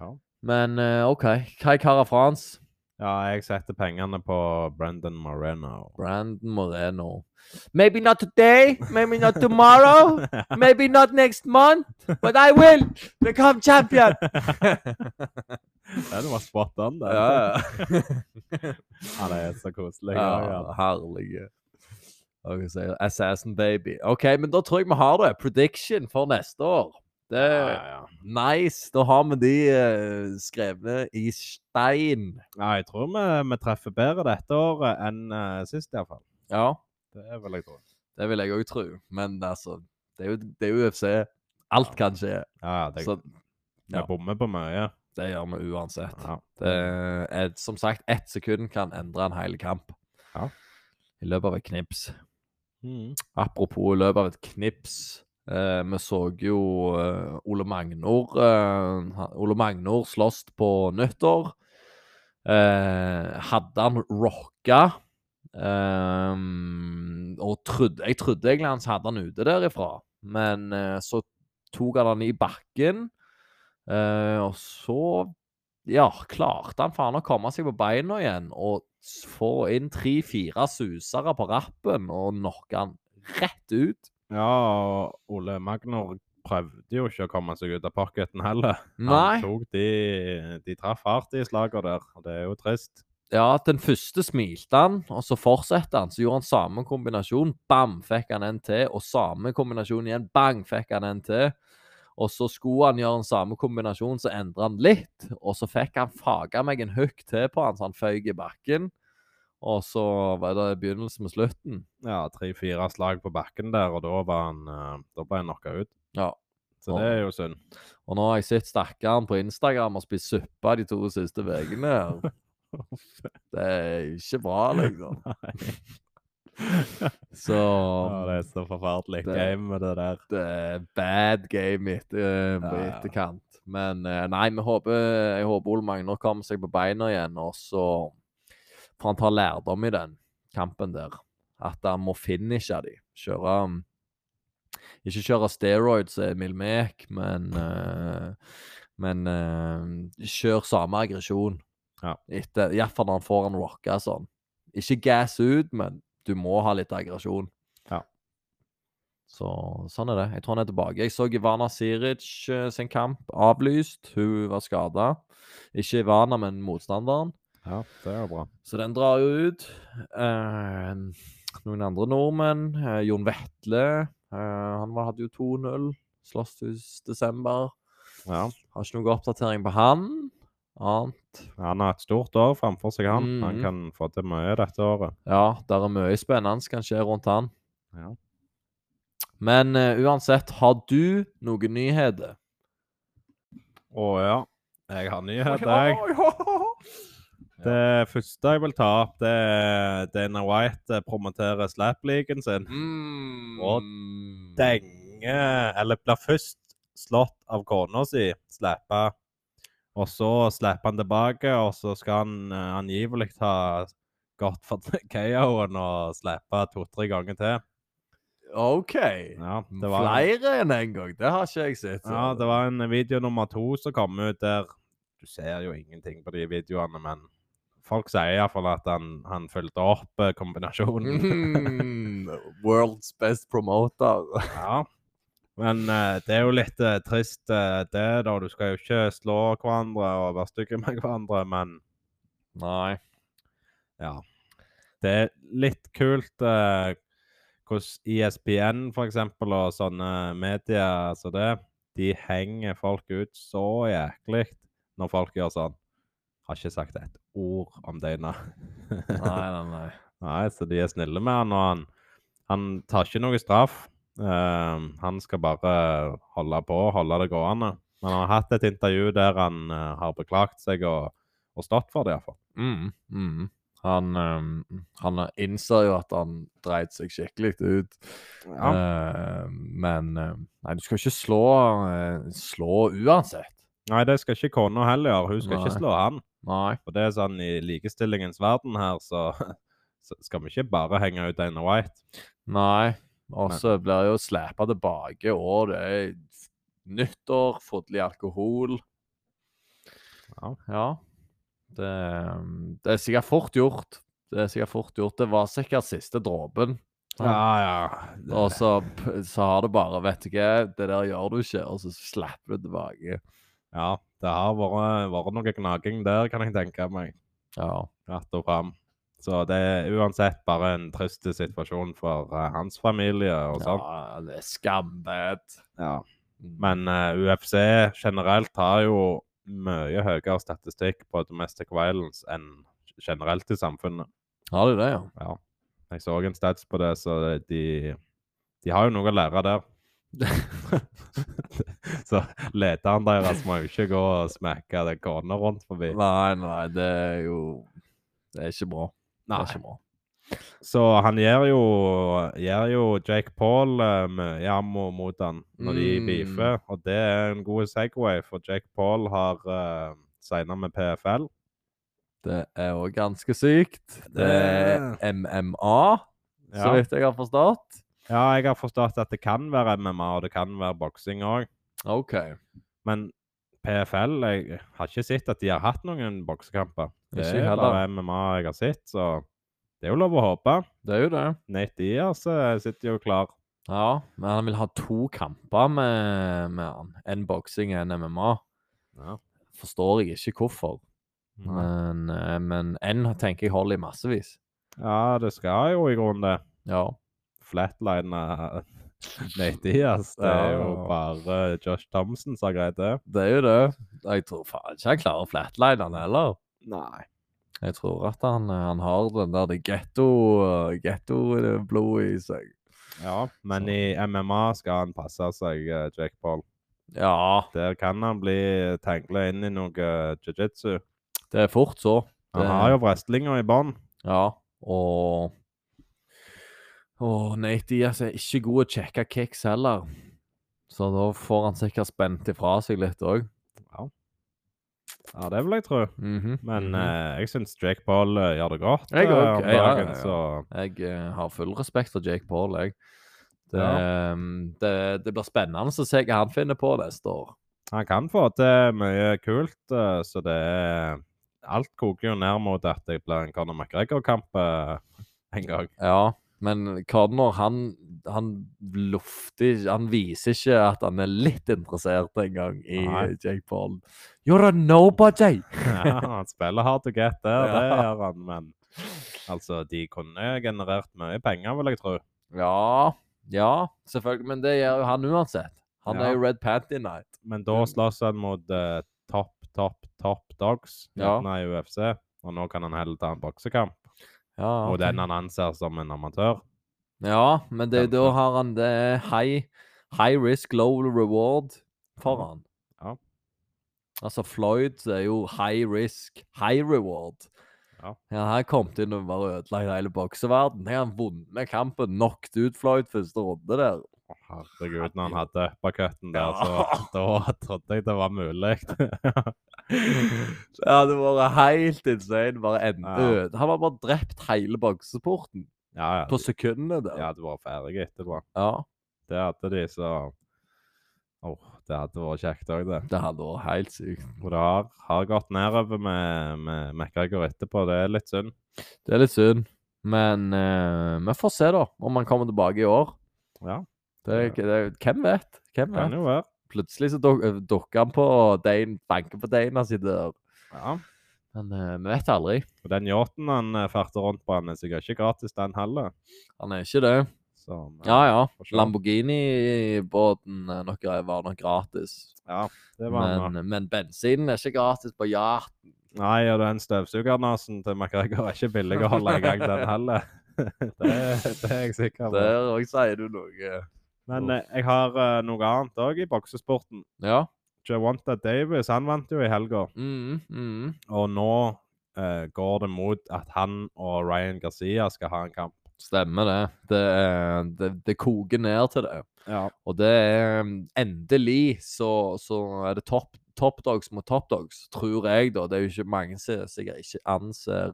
S2: Ja.
S1: Men eh, OK. Kai Cara France,
S2: Ja, jeg setter pengene på Brendan Moreno.
S1: Brandon Moreno. Maybe not today, maybe not tomorrow, maybe not next month, but I will become champion!
S2: Den var spot on, det.
S1: Ja, ja.
S2: Ja, det er så koselig.
S1: ja,
S2: Ja.
S1: herlige. Og jeg sier Assassin Baby. OK, men da tror jeg vi har det. Prediction for neste år. Det
S2: Ja,
S1: er
S2: ja.
S1: nice. Da har vi de eh, skrevne i stein.
S2: ja, jeg tror vi, vi treffer bedre dette året enn uh, sist, iallfall.
S1: Ja,
S2: Det vil jeg tro.
S1: det vil jeg òg tro. Men altså, Det er jo, det er jo UFC. Alt kan skje.
S2: Ja, ja, det,
S1: Så
S2: vi
S1: ja.
S2: bommer på mye.
S1: det gjør vi uansett.
S2: Ja.
S1: Det er, som sagt, ett sekund kan endre en hel kamp.
S2: Ja.
S1: I løpet av et knips.
S2: Mm.
S1: Apropos i løpet av et knips. Eh, vi så jo eh, Ole Magnor eh, han- Ole Magnor slåss på nyttår. Eh, hadde han rocka ehm, Og trodde, jeg trodde egentlig han hadde han ute derifra, men eh, så tok han han i bakken. eh, og så ja, klarte han faen å komme seg på beina igjen og s- få inn tre-fire susere på rappen og knocke han rett ut.
S2: Ja, og Ole Magnor prøvde jo ikke å komme seg ut av pocketen heller. Han
S1: Nei.
S2: tok de, de traff hardt i slagene der, og det er jo trist.
S1: Ja, den første smilte han, og så fortsatte han. Så gjorde han samme kombinasjon. Bam, fikk han en til. Og samme kombinasjon igjen. Bang, fikk han en til. Og så skulle han gjøre den samme kombinasjonen, så endra han litt. Og så fikk han faga meg en hook til på han, så han føyk i bakken. Og så var det begynnelsen med slutten.
S2: Ja, tre-fire slag på bakken der, og da, var han, eh, da ble han knocka ut.
S1: Ja.
S2: Så det er jo synd.
S1: Og nå har jeg sett stakkaren på Instagram og spist suppe de to siste ukene. her. Det er ikke bra, liksom. Så
S2: Ja, det er så forferdelig
S1: Det-
S2: game med det der.
S1: det er eh, bad game etter, eh, på
S2: Ja.
S1: etterkant. Men eh, nei, vi håper, jeg håper Ole Magnar kommer seg på beina igjen, og så får han ta lærdom i den kampen der. At han må finishe de. Kjøre um, Ikke kjøre steroids som er Milmek, men eh, Men eh, kjør samme aggresjon.
S2: Ja.
S1: Etter- Iallfall når han får han rocka sånn. Ikke gass ut, men du må ha litt aggresjon. Så sånn er det. Jeg tror han er tilbake. Jeg så Ivana Siric eh, sin kamp avlyst. Hun var skada. Ikke Ivana, men motstanderen.
S2: Ja, det er jo bra.
S1: Så den drar jo ut. Eh, noen andre nordmenn. eh, Jon Vetle. eh, han var, hadde jo 2-0. Slåss i desember.
S2: Ja.
S1: Har ikke noe oppdatering på han. Annet.
S2: Han har et stort år framfor seg, han. Han
S1: Mhm.
S2: kan få til mye dette året.
S1: Ja, der er mye spennende som kan skje rundt han.
S2: Ja.
S1: Men eh, uansett, har du noen nyheter?
S2: Å ja. Jeg har nyheter, jeg. Det første jeg vil ta opp, det er Dana White eh, promoterer Slap-leaguen sin.
S1: Mm.
S2: Og Denge Eller blir først slått av kona si, slappa. Og så slapper han tilbake, og så skal han eh, angivelig ha gått for KO-en og slappe to-tre ganger til.
S1: OK.
S2: Ja, det var
S1: Flere enn én en gang. Det har ikke jeg sett. så-
S2: Ja, det var en video nummer to som kom ut der. Du ser jo ingenting på de videoene, men folk sier iallfall at han, han fulgte opp eh, kombinasjonen.
S1: Mm. World's best promoter.
S2: ja. Men eh, det er jo litt eh, trist, eh, det, da. Du skal jo ikke slå hverandre og være stygge med hverandre, men
S1: Nei.
S2: ja. Det er litt kult eh, hvordan E ISPN, for eksempel, og sånne medier som det, de henger folk ut så jæklig når folk gjør sånn. Har ikke sagt et ord om Dana.
S1: Nei, nei, nei.
S2: Nei, så de er snille med han, og han, han tar ikke noe straff. Ehm, han skal bare holde på, holde det gående. Men han har hatt et intervju der han eh, har beklagt seg og, og stått for det, iallfall.
S1: Mm. Mm. Han, um, han innser jo at han dreit seg skikkelig ut.
S2: Ja.
S1: Eh, men eh, Nei, du skal ikke slå, eh, slå uansett.
S2: Nei, det skal ikke kona heller gjøre. Hun skal
S1: Nei.
S2: ikke slå han.
S1: Nei.
S2: Og det er sånn i likestillingens verden her, så, så skal vi ikke bare henge ut Dana White.
S1: Nei. Og så blir jeg jo slæpa tilbake, og det er nyttår, fodlig alkohol.
S2: Ja.
S1: Ja. Det, mm, det er sikkert fort gjort. Det er sikkert fort gjort. Det var sikkert siste dråpen.
S2: Ja, ja.
S1: Og så, p- så har det bare Vet du hva, det der gjør du ikke, og så slapper du tilbake.
S2: ja det har vært, vært noe gnaging der, kan jeg tenke meg.
S1: Ja.
S2: Rett og fram. Så det er uansett bare en trist situasjon for eh, hans familie og sånn.
S1: ja det er Mm. skambed.
S2: Ja. Men eh, UFC generelt har jo mye høyere statistikk på domestic violence enn generelt i samfunnet.
S1: Har du det, ja?
S2: Ja. Jeg så en stats på det, så de, de har jo noe å lære der. Så lederen deres må jo ikke gå og smekke den kona rundt forbi.
S1: Nei, nei, det er jo Det er ikke bra. Det
S2: Nei.
S1: er ikke bra.
S2: Så han gjør jo, gjør jo Jake Paul eh, mye ammo mot han når de
S1: Mm.
S2: beefer, og det er en god segway, for Jake Paul har uh, signa med PFL.
S1: Det er jo ganske sykt. Det er MMA, så
S2: Ja.
S1: vidt jeg har forstått.
S2: ja, jeg har forstått at det kan være MMA, og det kan være boksing òg,
S1: OK.
S2: men PFL Jeg har ikke sett at de har hatt noen boksekamper. Det
S1: Ikke
S2: er
S1: heller.
S2: bare MMA jeg har sett, så det er jo lov å håpe.
S1: Det er jo det.
S2: Nate Diaz eh, sitter jo klar.
S1: Ja, men han vil ha to kamper med, med han. En boksing og en MMA.
S2: Ja.
S1: Forstår jeg ikke hvorfor, men, eh, men en tenker jeg holder i massevis.
S2: Ja, det skal jo i grunnen det.
S1: Ja.
S2: Flatline eh, Nate Diaz. Det er jo
S1: Ja.
S2: bare Josh Thompson som har greid det.
S1: Det er jo det. Jeg tror faen ikke han klarer flatlineren heller.
S2: Nei.
S1: Jeg tror at han, han har den der det getto- getto-blodet i seg.
S2: Ja, men
S1: Så.
S2: i MMA skal han passe seg, eh, Jake Paul.
S1: Ja,
S2: Der kan han bli tangla inn i noe eh, jiu-jitsu.
S1: det er fort så.
S2: Han
S1: Det-
S2: har jo wrestlinga i bånn.
S1: Ja, og Og Nate Diaz er altså ikke god å sjekke kicks heller. Så da får han sikkert spent ifra seg litt òg.
S2: Ja, det vil jeg tro.
S1: Mhm.
S2: Men eh, jeg syns Jake Paul eh, gjør det godt.
S1: Jeg
S2: eh,
S1: òg.
S2: om
S1: Ja, ja,
S2: dagen,
S1: ja.
S2: så-
S1: Jeg eh, har full respekt for Jake Paul, jeg. Det, ehm,
S2: Ja.
S1: det, det blir spennende å se hva han finner på neste år.
S2: Han kan få til mye kult, eh, så det er Alt koker jo ned mot at det blir en Conor McGregor-kamp eh, en gang.
S1: Ja, men Connor, han, han lufter ikke- Han viser ikke at han er litt interessert engang i
S2: Nei.
S1: Jake Paul. You're a nobody!
S2: Ja, han spiller hard to get der, det
S1: Ja.
S2: gjør han, men altså, de kunne generert mye penger, vil jeg tro.
S1: Ja, ja, selvfølgelig. Men det gjør jo han uansett. Han
S2: Ja.
S1: er jo Red Panty Night.
S2: Men da slåss han mot eh, topp, topp, topp dogs
S1: Ja.
S2: uten i UFC, og nå kan han heller ta en boksekamp
S1: Ja,
S2: mot
S1: Ah, ok.
S2: den han anser som en amatør.
S1: ja men det,
S2: Den-
S1: da har han det high, high risk, low reward for han.
S2: Ja.
S1: Altså, Floyd er jo high risk, high reward.
S2: Ja.
S1: Ja, han kom til å bare ødelegge hele bokseverden. Her har han vunnet kampen, knocked ut Floyd første runde der.
S2: Å, Herregud, når han hadde uppercutten der,
S1: Ja.
S2: så da trodde jeg det var mulig.
S1: Ja, det var helt insane. Bare en
S2: Ja.
S1: øde. Han var bare drept hele bokseporten
S2: ja, ja,
S1: på sekundene der.
S2: de hadde vært ferdige etterpå.
S1: ja.
S2: Det hadde de, så... Åh, det hadde vært kjekt også, det.
S1: Det hadde vært helt sykt.
S2: Og det har, har gått nedover med, med McGregor etterpå. Det er litt synd.
S1: Det er litt synd, men eh, vi får se, da, om han kommer tilbake i år.
S2: Ja,
S1: Det, er
S2: Ja.
S1: ikke- det, er- hvem vet? Hvem
S2: kan
S1: vet?
S2: jo være.
S1: Plutselig så duk, øh, dukker han på og Dane banker på Dana si dør.
S2: Ja.
S1: Men eh, vi vet aldri.
S2: Og den yachten han eh, farter rundt på, han er sikkert ikke gratis, den heller.
S1: Han er ikke det.
S2: Så, eh,
S1: Ja ja.
S2: får se.
S1: Lamborghini-båten er eh, nok- var nok gratis.
S2: ja, det var han. da.
S1: Men, men bensinen er ikke gratis på Yacht.
S2: Nei, og den støvsugernasen til McGregor er ikke billig å holde i gang, den heller. det, det er jeg sikker på.
S1: Der òg sier du noe.
S2: Men eh, jeg har eh, noe annet òg i boksesporten.
S1: Ja.
S2: Javonta Davis han vant jo i helga,
S1: Mm, mm.
S2: og nå eh, går det mot at han og Ryan Garcia skal ha en kamp.
S1: Stemmer det. Det, er- det. det koker ned til det.
S2: Ja.
S1: Og det er um, endelig så, så er det top, top dogs mot top dogs, tror jeg, da. Det er jo ikke mange som sikkert ikke anser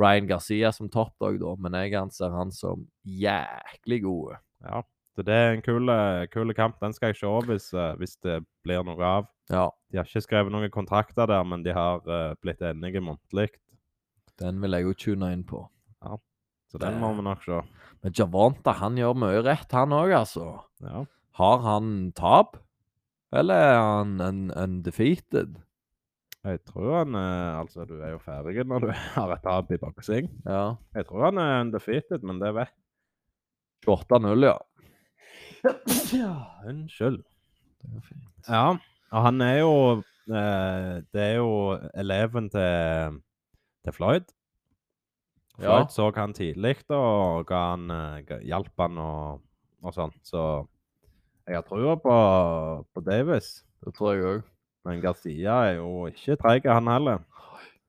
S1: Ryan Garcia som top dog, da, men jeg anser han som jæklig god.
S2: Ja, så det er en kul, kul kamp. Den skal jeg se hvis, eh, hvis det blir noe av.
S1: Ja,
S2: De har ikke skrevet noen kontrakter der, men de har eh, blitt enige muntlig.
S1: den vil jeg jo tune inn på.
S2: Så den må vi nok se.
S1: Men Javonta, han gjør mye rett, han òg, altså.
S2: Ja.
S1: Har han tap? Eller er han un- undefeated?
S2: Jeg tror han eh, Altså, du er jo ferdig når du har et tap i boksing.
S1: Ja.
S2: Jeg tror han er undefeated, men det vet
S1: 28-0, ja.
S2: Ja, unnskyld. Ja, og han er jo eh, Det er jo eleven til, til Floyd.
S1: Ja.
S2: Floyd så han tidlig da, og ga han, eh, ga- hjalp han og, og sånn. Så Jeg har trua på, på Davis,
S1: Det tror jeg òg.
S2: men Garcia er jo ikke treig, han heller.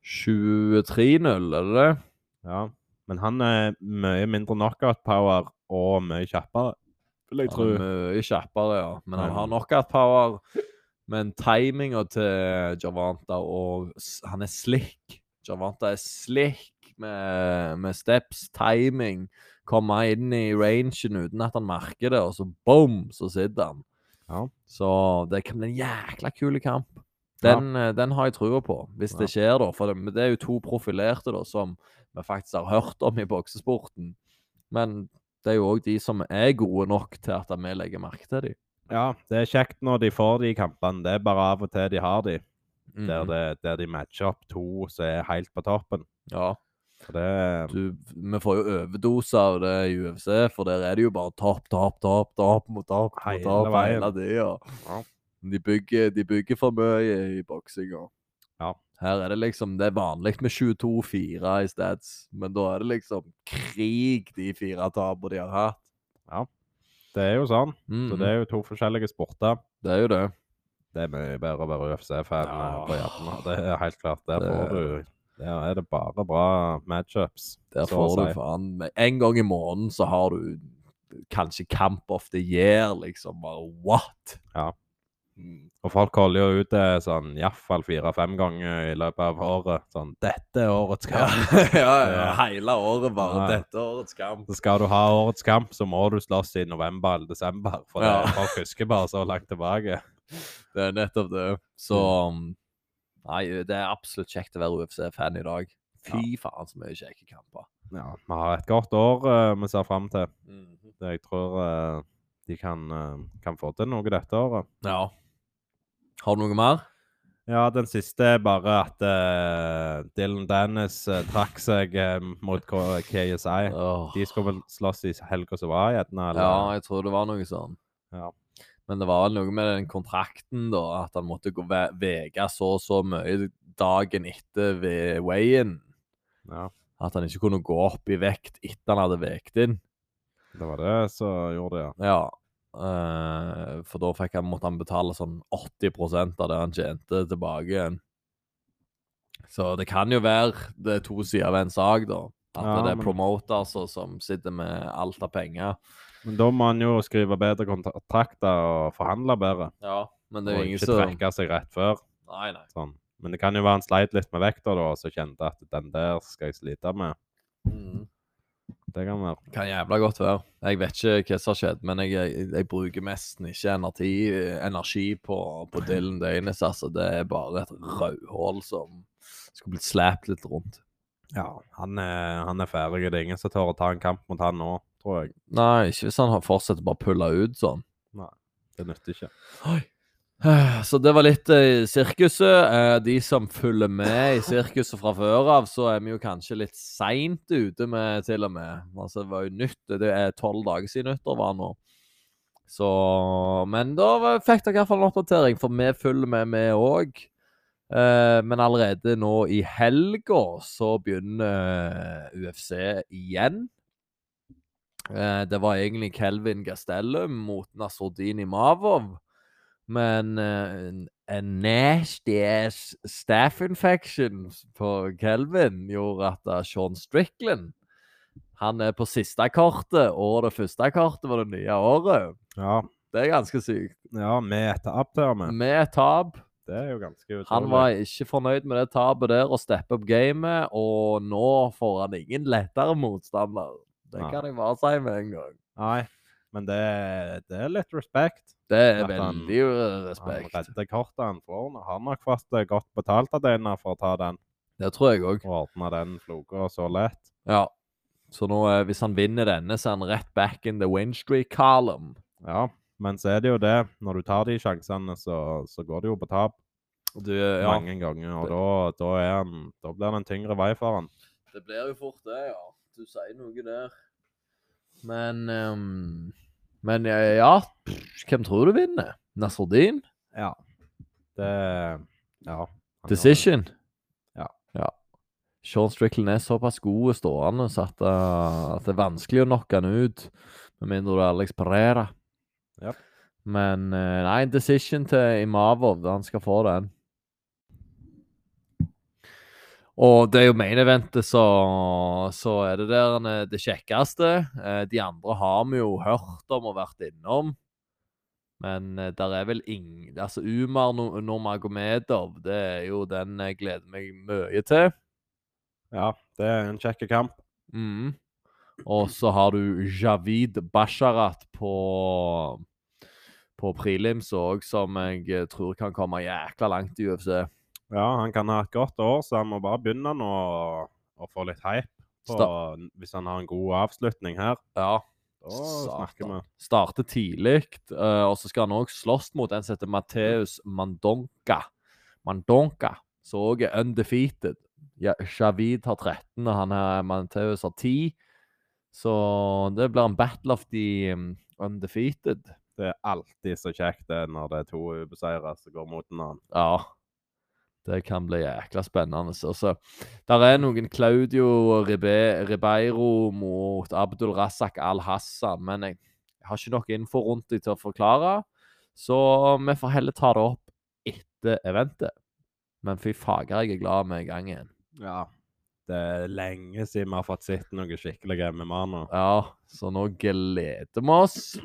S1: 23-0, er det det?
S2: Ja. Men han er mye mindre knockout-power og mye kjappere, vil jeg
S1: Han
S2: tro.
S1: er Mye kjappere, ja. Men han
S2: Men-
S1: har knockout-power. Men timinga til Javanta og s- Han er slick. Javanta er slick med, med steps, timing. Komme inn i rangen uten at han merker det, og så boom, så sitter han.
S2: Ja.
S1: Så det kan bli en jækla kul kamp. Den, eh, den har jeg trua på, hvis det skjer, da. For det, men det er jo to profilerte da, som vi faktisk har hørt om i boksesporten. Men det er jo òg de som er gode nok til at vi legger merke til dem.
S2: Ja, det er kjekt når de får de kampene. Det er bare av og til de har de,
S1: Mm.
S2: der, det, der de matcher opp to som er helt på toppen.
S1: Ja,
S2: For det,
S1: du, vi får jo overdose av det i UFC, for der er det jo bare tap, tap, tap, tap mot tap. mot
S2: Hele
S1: tap,
S2: veien.
S1: hele tida.
S2: Ja.
S1: De, bygger- de bygger for mye i boksinga.
S2: Ja.
S1: Her er det liksom Det er vanlig med 22-4 i stats, men da er det liksom krig, de fire tapene de har hatt.
S2: det er jo sånn.
S1: Mm,
S2: Så det er jo to forskjellige sporter.
S1: det er jo det.
S2: Det er mye bedre å være UFC-fan
S1: Ja.
S2: eh, på hjernen. Det er helt klart. Der
S1: Det-
S2: får du Der er det bare bra matchups.
S1: Der
S2: så å
S1: får du
S2: si.
S1: faen meg- En gang i måneden så har du kanskje Camp of the Year, liksom. Bare what? Mm.
S2: Ja. Og folk holder jo ut det sånn iallfall fire-fem ganger i løpet av året. Sånn 'Dette er årets kamp'.
S1: Ja, ja, ja.
S2: Ja.
S1: Hele året bare
S2: Ja.
S1: dette årets kamp.
S2: Så skal du ha årets kamp, så må du slåss i november eller desember. For
S1: Ja.
S2: det, folk husker bare så langt tilbake.
S1: Det er nettopp det. Så
S2: Mm.
S1: um, Nei, det er absolutt kjekt å være UFC-fan i dag. Fy faen så mye kjekke kamper.
S2: Ja, Vi har et godt år eh, vi ser fram til. Det Jeg tror eh, de kan, eh, kan få til noe dette året.
S1: Ja. Har du noe mer?
S2: Ja, den siste er bare at eh, Dylan Dennis eh, trakk seg eh, mot K- KSI.
S1: Åh.
S2: De skulle vel slåss i helga som var, gjerne?
S1: Ja,
S2: eller?
S1: jeg tror det var noe sånn.
S2: Ja.
S1: Men det var vel noe med den kontrakten, da. At han måtte gå ve- vege så og så mye dagen etter ved weigh-in.
S2: ja.
S1: At han ikke kunne gå opp i vekt etter han hadde vekt inn.
S2: Det var det som gjorde det, ja.
S1: Ja. eh, for da fikk han, måtte han betale sånn 80 av det han tjente, tilbake igjen. Så det kan jo være det er to sider ved en sak, da. At
S2: Ja,
S1: det er
S2: men-
S1: promoter altså, som sitter med alt av penger.
S2: Men da må han jo skrive bedre kontrakter og forhandle bedre.
S1: Ja, men det er
S2: Og
S1: jo ingen
S2: ikke
S1: som
S2: trekke seg rett før.
S1: Nei, nei.
S2: Sånn. Men det kan jo være han sleit litt med vekta da, og så kjente at den der skal jeg slite med.
S1: Mm.
S2: Det kan være.
S1: Kan jævla godt være. Jeg vet ikke hva som har skjedd, men jeg, jeg, jeg bruker nesten ikke energi, energi på, på Dylan Døgnes. Altså, det er bare et rødhål som skulle blitt slæpt litt rundt.
S2: Ja, han er, han er ferdig. Det er ingen som tør å ta en kamp mot han nå, tror jeg.
S1: Nei, ikke hvis han har fortsatt å bare pulle ut sånn.
S2: Det nytter ikke.
S1: Så det var litt eh, sirkuset. Eh, de som følger med i sirkuset fra før av, så er vi jo kanskje litt seint ute med, til og med. Altså, det var jo nytt. Det er tolv dager siden nyttår var nå. Så Men da var- fikk dere i hvert fall en oppdatering, for vi følger med, vi òg. Eh, men allerede nå i helga så begynner eh, UFC igjen. Eh, det var egentlig Kelvin Gastelum mot Nasruddin Imavov. Men eh, en- en nasty ass staff infection på Kelvin gjorde at eh, Sean Strickland Han er på siste kortet, og det første kortet var det nye året.
S2: Ja,
S1: Det er ganske sykt.
S2: ja med et tap til og med.
S1: Med et tap.
S2: Det er jo ganske utrolig.
S1: Han var ikke fornøyd med det tapet der og steppe opp gamet, og nå får han ingen lettere motstander. Det
S2: Nei.
S1: kan jeg bare si med en gang.
S2: Nei, men det, det er litt respekt.
S1: Det er
S2: At han-
S1: veldig
S2: Han
S1: respekt.
S2: redder kortet han får. Han har nok fått eh, godt betalt av denne for å ta den
S1: Det tror jeg òg.
S2: og ordne den floka så lett.
S1: Ja. Så nå, eh, hvis han vinner denne, så er han rett back in the win streak column.
S2: Ja, men så er det jo det. Når du tar de sjansene, så, så går det jo på tap
S1: Du, eh, ja.
S2: mange ganger. Og da, da, er han, da blir det en tyngre vei for han.
S1: Det blir jo fort det, ja. Du sier noe der. Men ehm, Men eh, ja, pff, hvem tror du vinner? Nasruddin?
S2: Ja. Det Ja. han
S1: Decision?
S2: Ja.
S1: ja. Sean Strickland er såpass god og stående så at, eh, at det er vanskelig å knocke han ut. Med mindre du er Alex Pereira.
S2: Ja.
S1: Men eh, nei, decision til Imavov. Han skal få den. Og det er jo main eventet, så, så er det der han er det kjekkeste. Eh, De andre har vi jo hørt om og vært innom. Men eh, der er vel ingen Altså Umar No- Nurmagomedov, det er jo den jeg gleder meg mye til.
S2: Ja, det er en kjekk kamp.
S1: Mm. Og så har du Javid Basharat på, på prelims òg, som jeg eh, tror kan komme jækla langt i UFC.
S2: Ja, han kan ha et godt år, så han må bare begynne nå å, å få litt hype. På, hvis han har en god avslutning her,
S1: Ja,
S2: da
S1: Satan.
S2: snakker vi.
S1: Starte tidlig, eh, og så skal han òg slåss mot en som heter Mateus Mandonka. Mandonka, som òg er undefeated. Ja, Javid har 13, og han her, Mateus har 10. Så det blir en battle of the um, undefeated.
S2: Det er alltid så kjekt det når det er to ubeseirede som går mot en annen.
S1: Ja. Det kan bli jækla spennende. Og så der er noen Claudio Ribe, Ribeiro mot Abdul Razak Al-Hassan, men jeg, jeg har ikke nok info rundt dem til å forklare. Så vi får heller ta det opp etter eventet. Men fy fager, jeg er glad vi er i gang igjen.
S2: Ja. Det er lenge siden vi har fått sett noe skikkelig MMA nå.
S1: Ja, så nå gleder vi oss.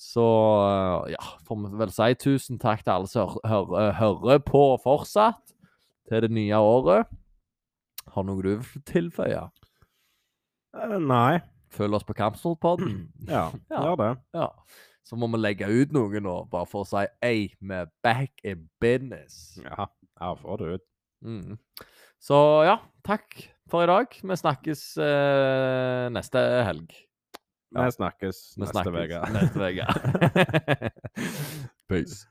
S1: Så eh, ja, får vi vel si tusen takk til alle som hører, hører, hører på fortsatt til det nye året. Har noe du vil tilføye?
S2: Eh, nei.
S1: Følg oss på Kampsportpodden.
S2: Ja,
S1: Ja.
S2: gjør det.
S1: Ja. Så må vi legge ut noe nå, bare for å si ei, vi er back in business.
S2: Ja, her får du ut.
S1: Mm. Så ja, takk for i dag. Vi snakkes eh, neste helg.
S2: Vi
S1: Ja.
S2: snakkes
S1: Vi
S2: neste
S1: snakkes
S2: uke.
S1: neste uke. Peace.